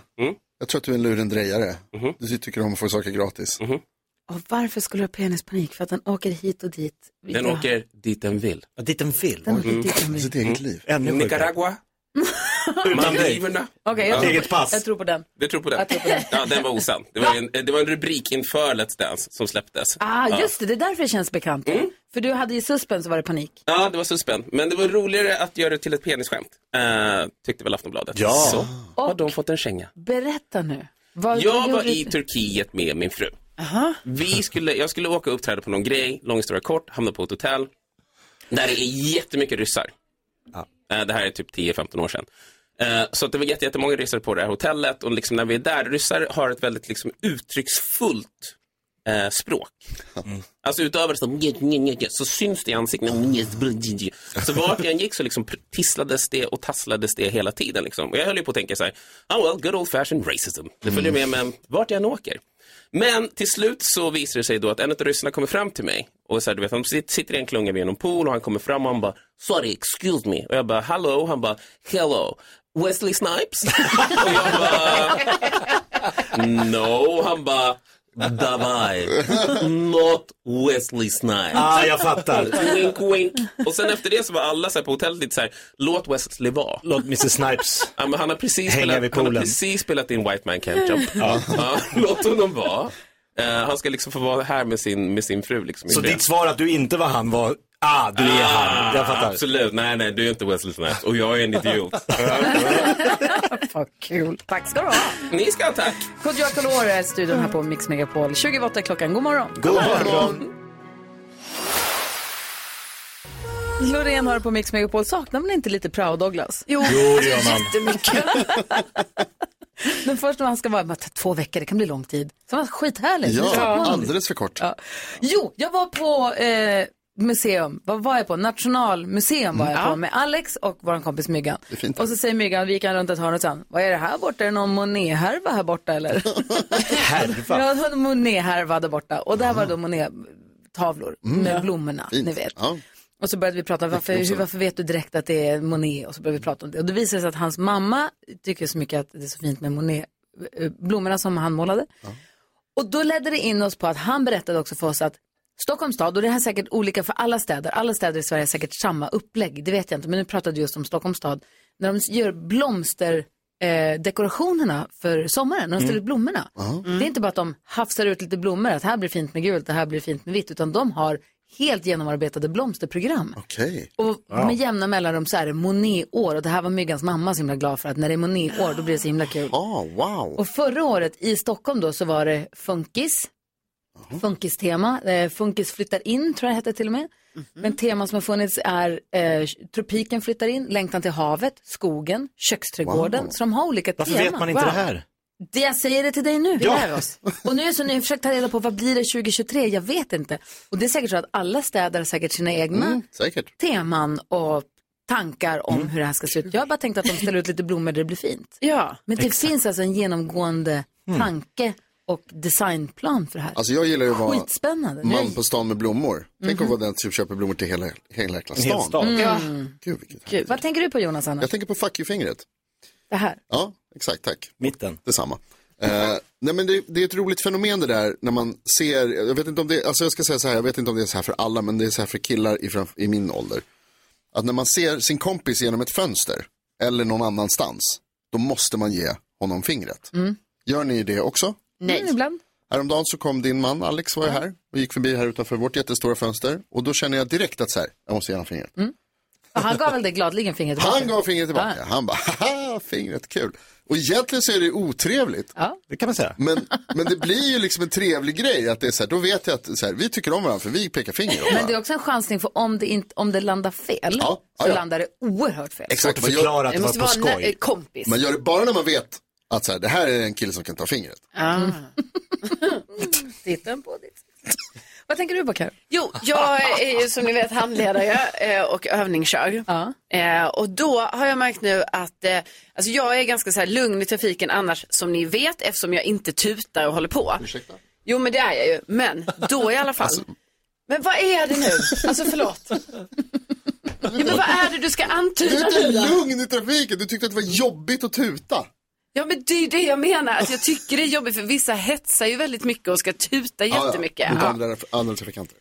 Speaker 4: Jag tror att du är en lurendrejare. Du tycker om att få saker gratis.
Speaker 1: Och varför skulle du ha penispanik? För att den åker hit och dit.
Speaker 14: Den åker dit den vill.
Speaker 3: Ja, dit den vill?
Speaker 1: Den åker dit den vill.
Speaker 4: Mm. Sitt eget liv. Mm.
Speaker 3: Ännu sjukare.
Speaker 14: Nicaragua, Utan dig.
Speaker 1: Okej, jag,
Speaker 14: Ja.
Speaker 1: tror på-
Speaker 14: Eget pass.
Speaker 1: jag tror på den.
Speaker 14: Du tror på den?
Speaker 1: Jag tror på den.
Speaker 14: Ja, den var osann. Det var, en, det var en rubrik inför Let's Dance som släpptes. Ja.
Speaker 1: Ah,
Speaker 14: Mm.
Speaker 1: just det. Det är därför det känns bekant. För du hade ju suspense och var det panik.
Speaker 14: Ja, det var så spänt. Men det var roligare att göra det till ett penisskämt, eh, tyckte väl Aftonbladet.
Speaker 1: Ja.
Speaker 14: Så har de fått en känga.
Speaker 1: Berätta nu. Vad,
Speaker 14: Jag
Speaker 1: vad
Speaker 14: var
Speaker 1: gjorde
Speaker 14: i
Speaker 1: du?
Speaker 14: Turkiet med min fru.
Speaker 1: Aha.
Speaker 14: Vi skulle, jag skulle åka och uppträda på någon grej, lång historia kort, hamna på ett hotell. Där det är jättemycket ryssar. Eh, Det här är typ 10-15 år sedan. Eh, Så att det var jätte- jättemånga ryssar på det här hotellet och liksom när vi är där, ryssar har ett väldigt liksom uttrycksfullt eh, språk.
Speaker 3: Mm.
Speaker 14: Alltså utöver så, nj- nj- nj- nj, så syns det i ansiktet. nj- nj- nj- nj. Så vart jag än gick så liksom pr- tisslades det och tasslades det hela tiden. Liksom. Och jag höll ju på att tänka så här, oh well, good old fashioned racism. Det följer med men vart jag än åker. Men till slut så visar det sig då att en av ryssarna kommer fram till mig och så här, du vet, han sit- sitter i en klunga vid en pool och han kommer fram och han bara, sorry, excuse me. Och jag bara, hello, han bara, hello. Wesley Snipes? och jag bara, No, han bara Davai, not Wesley Snipes.
Speaker 3: Ah, jag fattar.
Speaker 14: Wink, wink. Och sen efter det så var alla så här på hotellet lite så här, låt Wesley vara.
Speaker 3: Låt Mrs Snipes
Speaker 14: ja, men han, har precis
Speaker 3: hänga
Speaker 14: spelat,
Speaker 3: vid
Speaker 14: han har
Speaker 3: poolen.
Speaker 14: precis spelat in White Man Can't Jump.
Speaker 3: Ja.
Speaker 14: Ja, låt honom vara. Eh, han ska liksom få vara här med sin, med sin fru. Liksom, i
Speaker 3: Så
Speaker 14: fred.
Speaker 3: ditt svar att du inte var han var, ah, du är han. Jag fattar.
Speaker 14: Absolut, nej nej du är inte Wesley Snipes och jag är en idiot.
Speaker 1: Vad kul. Tack ska du ha.
Speaker 14: Ni ska ha tack.
Speaker 1: Kodjo Akolore är i studion här på Mix Megapol. 28 klockan. God morgon.
Speaker 14: God morgon.
Speaker 1: Loreen har det på Mix Megapol. Saknar man inte lite prao Douglas?
Speaker 15: Jo, Jo, det gör man. jättemycket.
Speaker 1: Men först när han ska vara bara, två veckor, det kan bli lång tid. Så var det skithärligt. Nu saknar
Speaker 4: Ja,
Speaker 1: man honom.
Speaker 4: alldeles för kort.
Speaker 1: Ja. Jo, jag var på eh, museum. Vad var jag på? Nationalmuseum var jag
Speaker 4: Mm.
Speaker 1: på
Speaker 4: Ja.
Speaker 1: med Alex och vår kompis Myggan. Och så säger Myggan, vi gick han runt ett hörn och sen, vad är det här borta? Är det någon Monet-härva här borta eller?
Speaker 3: Härva?
Speaker 1: Ja, det var en Monet-härva där borta. Och där var det då Monet-tavlor
Speaker 15: Mm.
Speaker 1: med
Speaker 15: Ja.
Speaker 1: blommorna,
Speaker 15: Fint.
Speaker 1: ni vet. Och så började vi prata, varför, hur, varför vet du direkt att det är Monet? Och så började vi prata om det. Och det visade sig att hans mamma tycker så mycket att det är så fint med Monet, eh, blommorna som han målade. Och då ledde det in oss på att han berättade också för oss att Stockholms stad, och det här är säkert olika för alla städer, alla städer i Sverige har säkert samma upplägg, det vet jag inte, men nu pratade vi just om Stockholms stad. När de gör blomsterdekorationerna eh, dekorationerna för sommaren, när de ställer ut
Speaker 15: Mm.
Speaker 1: blommorna.
Speaker 15: Ja.
Speaker 1: Det är inte bara att de hafsar ut lite blommor, att här blir fint med gult, det här blir fint med vitt, utan de har helt genomarbetade blomsterprogram.
Speaker 4: Okej.
Speaker 1: Och med jämna mellanrum så är det Monet-år och det här var Myggans mamma så himla glad för att när det är Monet-år då blir det så himla kul.
Speaker 15: Ah,
Speaker 4: wow.
Speaker 1: Och förra året i Stockholm då så var det funkis, funkistema, eh, funkis flyttar in tror jag det hette till och med.
Speaker 15: Mhm.
Speaker 1: Men teman som har funnits är eh, tropiken flyttar in, längtan till havet, skogen, köksträdgården.
Speaker 15: Wow.
Speaker 1: Så de har olika
Speaker 15: Varför
Speaker 1: teman.
Speaker 15: vet man inte det här?
Speaker 1: Det jag säger det till dig nu,
Speaker 15: Ja.
Speaker 1: lär oss. Och nu är jag så nyfiken, försökt ta reda på vad blir det 2023, jag vet inte. Och det är säkert så att alla städer har säkert sina egna
Speaker 4: Mm, säkert.
Speaker 1: teman och tankar om hur det här ska se ut. Jag har bara tänkt att de ställer ut lite blommor där det blir fint.
Speaker 15: Ja,
Speaker 1: Men det finns alltså en genomgående
Speaker 4: Mm.
Speaker 1: tanke och designplan för det här.
Speaker 4: Alltså jag gillar ju att vara
Speaker 1: Skitspännande.
Speaker 4: man på stan med blommor. Tänk att
Speaker 1: Mhm.
Speaker 4: vara den som köper blommor till hela, hela jäkla
Speaker 1: En hel
Speaker 4: stan.
Speaker 1: stad. Mm. Ja.
Speaker 4: Gud, vilket
Speaker 1: Gud. Vad tänker du på Jonas annars?
Speaker 4: Jag tänker på fuck you-fingret.
Speaker 1: Det här.
Speaker 4: Ja, exakt, tack. Mitten. Detsamma. Eh, nej men det, det är ett roligt fenomen det där när man ser, jag vet inte om det, alltså jag ska säga så här, jag vet inte om det är så här för alla, men det är så här för killar i, framf- i min ålder. Att när man ser sin kompis genom ett fönster eller någon annanstans, då måste man ge honom fingret.
Speaker 1: Mm.
Speaker 4: Gör ni det också?
Speaker 1: Nej. Mm, ibland.
Speaker 4: Häromdagen så kom din man Alex var ju här och gick förbi här utanför vårt jättestora fönster och då känner jag direkt att så här, jag måste ge honom fingret.
Speaker 1: Mm. Och han gav väl det gladeligen fingret tillbaka?
Speaker 4: Han gav fingret tillbaka. Han bara, haha, fingret, kul. Och egentligen så är det otrevligt.
Speaker 3: Det kan man säga.
Speaker 4: Men, men det blir ju liksom en trevlig grej att det är så här, då vet jag att så här, vi tycker om varandra för vi pekar finger åt
Speaker 1: Men det
Speaker 4: varandra.
Speaker 1: är också en chansning för om det, inte, om det landar fel
Speaker 4: Ja, ja,
Speaker 1: så
Speaker 4: ja.
Speaker 1: landar det oerhört fel.
Speaker 4: Exakt, man
Speaker 1: förklara
Speaker 4: gör,
Speaker 1: eh,
Speaker 4: Man gör det bara när man vet att så här, det här är en kille som kan ta fingret.
Speaker 1: Ah. Titeln på ditt. Vad tänker du på Karo?
Speaker 15: Jo, jag är ju som ni vet handledare eh, och övningskör. Eh, Och då har jag märkt nu att eh, alltså jag är ganska så här lugn i trafiken annars som ni vet eftersom jag inte tutar och håller på.
Speaker 4: Ursäkta? Alltså-
Speaker 15: Jo men det är jag ju, men då i alla fall. Men vad är det nu? Alltså förlåt. Ja, men vad är det du ska
Speaker 4: Du är
Speaker 15: antyda nu
Speaker 4: inte
Speaker 15: då?
Speaker 4: lugn i trafiken, du tyckte att det var jobbigt att tuta.
Speaker 15: Ja men det är ju det jag menar, att jag tycker det är jobbigt för vissa hetsar ju väldigt mycket och ska tuta jättemycket.
Speaker 4: Mot
Speaker 15: Ja.
Speaker 4: andra, andra trafikanter.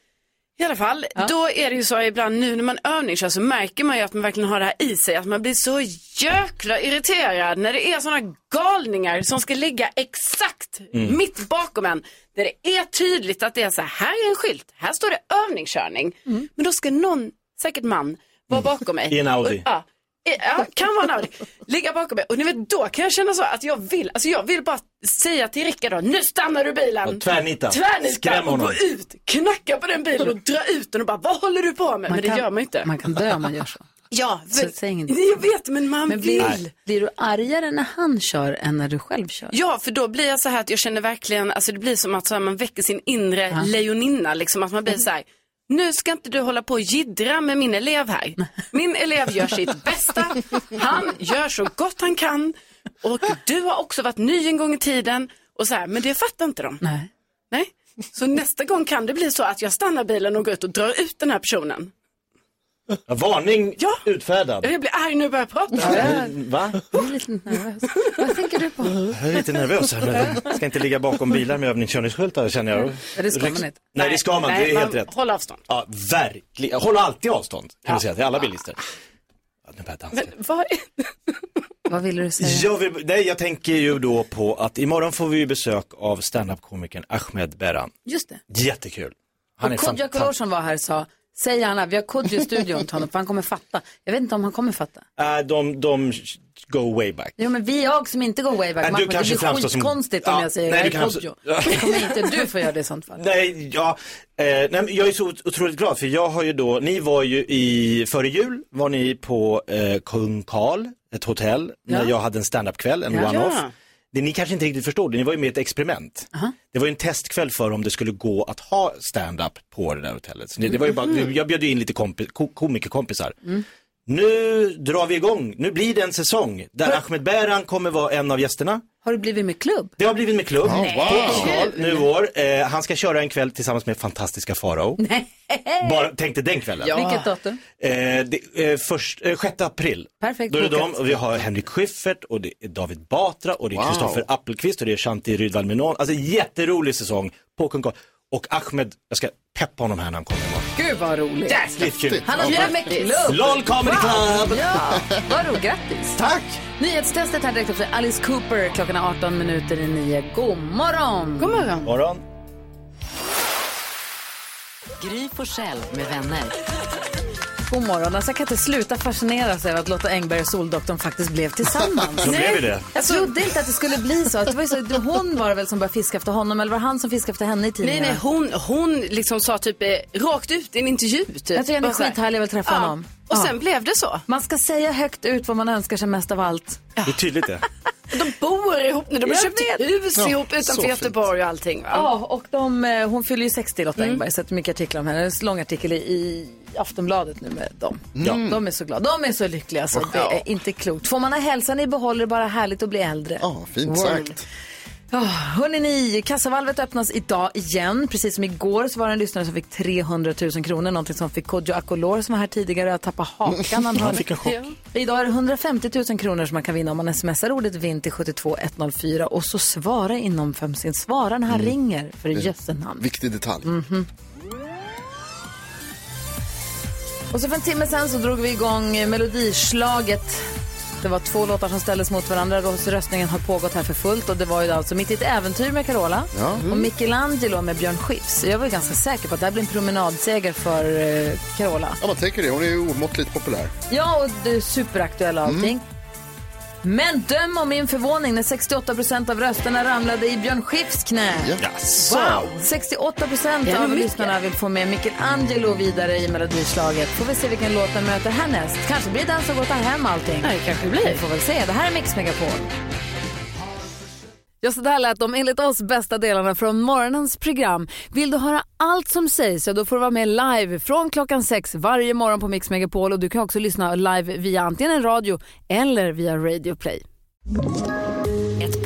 Speaker 5: I alla fall, då är det ju så ibland nu när man övningskör så märker man ju att man verkligen har det här i sig. Att man blir så jäkla irriterad när det är sådana galningar som ska ligga exakt
Speaker 6: Mm.
Speaker 5: mitt bakom en. Där det är tydligt att det är så här, här är en skylt, här står det övningskörning. Men då ska någon, säkert man, vara bakom mig.
Speaker 3: I en Audi.
Speaker 5: Och, ja, i- ja, kan vara en Audi. Ligga bakom mig. Och ni vet, då kan jag känna så att jag vill, alltså jag vill bara säga till Rickard då, nu stannar du bilen.
Speaker 3: Ja, tvärnita.
Speaker 5: Tvärnita
Speaker 3: Skräm
Speaker 5: och
Speaker 3: honom.
Speaker 5: gå ut, knacka på den bilen och dra ut den och bara, vad håller du på med?
Speaker 1: Man
Speaker 5: men det
Speaker 1: kan-
Speaker 5: gör man ju inte.
Speaker 1: Man kan dö om man gör så.
Speaker 5: Ja,
Speaker 1: Så
Speaker 5: för-
Speaker 1: säg ingenting.
Speaker 5: Mm. jag vet, men man
Speaker 1: Men
Speaker 5: vill.
Speaker 1: blir, blir du argare när han kör än när du själv kör?
Speaker 5: Ja, för då blir jag så här att jag känner verkligen, alltså det blir som att så här, man väcker sin inre lejoninna, liksom att man blir så här, nu ska inte du hålla på och jiddra med min elev här. Min elev gör sitt bästa, han gör så gott han kan och du har också varit ny en gång i tiden och så här, men det fattar inte de.
Speaker 1: Nej.
Speaker 5: Nej. Så nästa gång kan det bli så att jag stannar bilen och går ut och drar ut den här personen.
Speaker 3: Ja, Varning utfärdad.
Speaker 5: Jag blir arg nu och börjar prata.
Speaker 3: Va?
Speaker 1: Jag är lite nervös. Vad tänker du på?
Speaker 3: Jag är lite nervös här. Men jag ska inte ligga bakom bilar med övningskörningsskyltar känner jag.
Speaker 1: Ja, det ska man inte.
Speaker 3: Nej, det ska man inte. Det är helt rätt.
Speaker 5: Håll avstånd.
Speaker 3: Ja, verkligen. Håll alltid avstånd kan vi säga till alla bilister. Ja, nu börjar jag dansa.
Speaker 5: Men vad är
Speaker 1: Vad ville du säga?
Speaker 3: Jag, vill, nej, jag tänker ju då på att imorgon får vi ju besök av standup-komikern Ahmed Beran.
Speaker 1: Just det.
Speaker 3: Jättekul. Han är
Speaker 1: Och Kodjo
Speaker 3: fantastisk.
Speaker 1: Kolosjon var här och sa, säg gärna, vi har Kodjo i studion till honom för han kommer fatta. Jag vet inte om han kommer fatta.
Speaker 3: Äh, de, de go way back.
Speaker 1: Jo men vi, jag som inte går way back,
Speaker 3: Äh,
Speaker 1: Marcus, det blir skitkonstigt om
Speaker 3: Ja,
Speaker 1: jag säger
Speaker 3: nej,
Speaker 1: jag
Speaker 3: du
Speaker 1: är
Speaker 3: kanske-
Speaker 1: Kodjo. Det kommer inte du få göra det i sånt fall.
Speaker 3: Nej, ja, eh, nej, men jag är så ot- otroligt glad för jag har ju då, ni var ju i, före jul var ni på eh, Kung Karl, ett hotell, när
Speaker 15: Ja.
Speaker 3: jag hade en standupkväll, en
Speaker 15: Ja.
Speaker 3: one-off.
Speaker 15: Ja.
Speaker 3: Det ni kanske inte riktigt förstod, ni var ju med i ett experiment. Det var ju en testkväll för om det skulle gå att ha stand-up på det där hotellet. Så det, det var ju bara,
Speaker 15: Mhm.
Speaker 3: jag bjöd ju in lite kompi, ko, komikerkompisar.
Speaker 15: Mm.
Speaker 3: Nu drar vi igång, nu blir det en säsong där Ahmed Bäran kommer vara en av gästerna.
Speaker 1: Har du blivit med klubb?
Speaker 3: Det har blivit med klubb.
Speaker 1: Nej.
Speaker 3: På Karl,
Speaker 1: Kul.
Speaker 3: Nu i vår. Eh, han ska köra en kväll tillsammans med fantastiska Farao. Bara tänkte den kvällen.
Speaker 1: Vilket datum?
Speaker 3: Eh, det, eh, först, eh, 6 april.
Speaker 1: Perfekt
Speaker 3: Då är det
Speaker 1: bokat.
Speaker 3: de, och vi har Henrik Schyffert och det är David Batra och det är Kristoffer Appelqvist och det är Shanti Rydwall Menon. Alltså jätterolig säsäsong på Kung Karl. Och Ahmed, jag ska peppa honom här när han kommer imorgon.
Speaker 1: Gud vad roligt.
Speaker 3: Jäkligt kul.
Speaker 1: Han har
Speaker 3: Ja,
Speaker 1: blivit med
Speaker 3: faktiskt.
Speaker 1: klubb.
Speaker 3: LOL Comedy
Speaker 1: Wow.
Speaker 3: Club.
Speaker 1: Ja, vad roligt. Grattis.
Speaker 3: Tack.
Speaker 1: Nyhetstestet här direkt efter Alice Cooper. Klockan är 18 minuter i 9. God morgon. God morgon.
Speaker 3: Morgon.
Speaker 16: Gry Forssell med vänner.
Speaker 1: God morgon. Alltså, jag kan inte sluta fascineras över att Lotta Engberg och Soldoktorn faktiskt blev tillsammans.
Speaker 3: De blev ju det.
Speaker 1: Jag trodde inte att det skulle bli så. Att det var ju så. Hon var det väl som började fiska efter honom eller var det han som fiskade efter henne i
Speaker 5: Nej,
Speaker 1: tidningen?
Speaker 5: nej, hon, hon liksom sa typ eh, rakt ut i en intervju. Typ.
Speaker 1: Jag tycker han är
Speaker 5: Bara så här.
Speaker 1: skithärlig, jag vill träffa
Speaker 5: Ja.
Speaker 1: honom.
Speaker 5: Och
Speaker 1: Ja.
Speaker 5: sen blev det så.
Speaker 1: Man ska säga högt ut vad man önskar sig mest av allt.
Speaker 3: Hur tydligt det är.
Speaker 5: De bor ihop nu, de har
Speaker 1: Jag
Speaker 5: köpt
Speaker 1: vet.
Speaker 5: hus
Speaker 1: Ja,
Speaker 5: ihop
Speaker 1: så
Speaker 5: utanför
Speaker 1: fint.
Speaker 5: Göteborg och allting. Va?
Speaker 1: Ja, och de, eh, hon fyller ju 60 Lotta
Speaker 5: Mm.
Speaker 1: Engberg, så att mycket artiklar om henne. Det är en lång artikel i- i Aftonbladet nu med dem.
Speaker 5: Ja.
Speaker 1: De är så glada, de är så lyckliga så det
Speaker 5: Ja.
Speaker 1: är inte klokt. Får man ha hälsan i behåll är det bara härligt att bli äldre. Ja,
Speaker 4: fint sagt.
Speaker 1: Oh, hörni ni, kassavalvet öppnas idag igen. Precis som igår så var det en lyssnare som fick 300 000 kronor. Någonting som fick Kodjo Akolor som var här tidigare att tappa hakan.
Speaker 3: Han
Speaker 1: hörde-
Speaker 3: fick en chock.
Speaker 1: Idag är det 150 000 kronor som man kan vinna om man smsar ordet vinn till 72104 och så svara inom fem sekunder. Svara när han
Speaker 4: Mm.
Speaker 1: ringer för
Speaker 4: Det är
Speaker 1: jösse namn.
Speaker 4: Viktig detalj.
Speaker 1: Mhm. Och så för en timme sen så drog vi igång melodislaget. Det var två låtar som ställdes mot varandra. Röst- Röstningen har pågått här för fullt och det var ju alltså Mitt i ett äventyr med Carola
Speaker 4: Ja.
Speaker 1: och Michelangelo med Björn Skifs. Jag var ju ganska säker på att det här blir en promenadseger för eh, Carola.
Speaker 4: Ja, man tänker det. Hon är ju omåttligt populär.
Speaker 1: Ja, och det är superaktuell och allting. Men döm om min förvåning när 68 av rösterna ramlade i Björn Skifs knä.
Speaker 3: Yes.
Speaker 1: Wow! 68
Speaker 5: Det är
Speaker 1: av
Speaker 5: mycket.
Speaker 1: lyssnarna vill få med Michelangelo vidare i Melodislaget. Får vi se vilken låt den möter härnäst. Kanske blir det den som går att ta hem allting. Nej, kanske blir. Vi får väl se. Det här är Mix Megapol. Ja, så där lät de enligt oss bästa delarna från morgonens program. Vill du höra allt som sägs, ja, då får du vara med live från klockan sex varje morgon på Mix Megapol. Och du kan också lyssna live via antingen en radio eller via Radio Play.
Speaker 16: Ett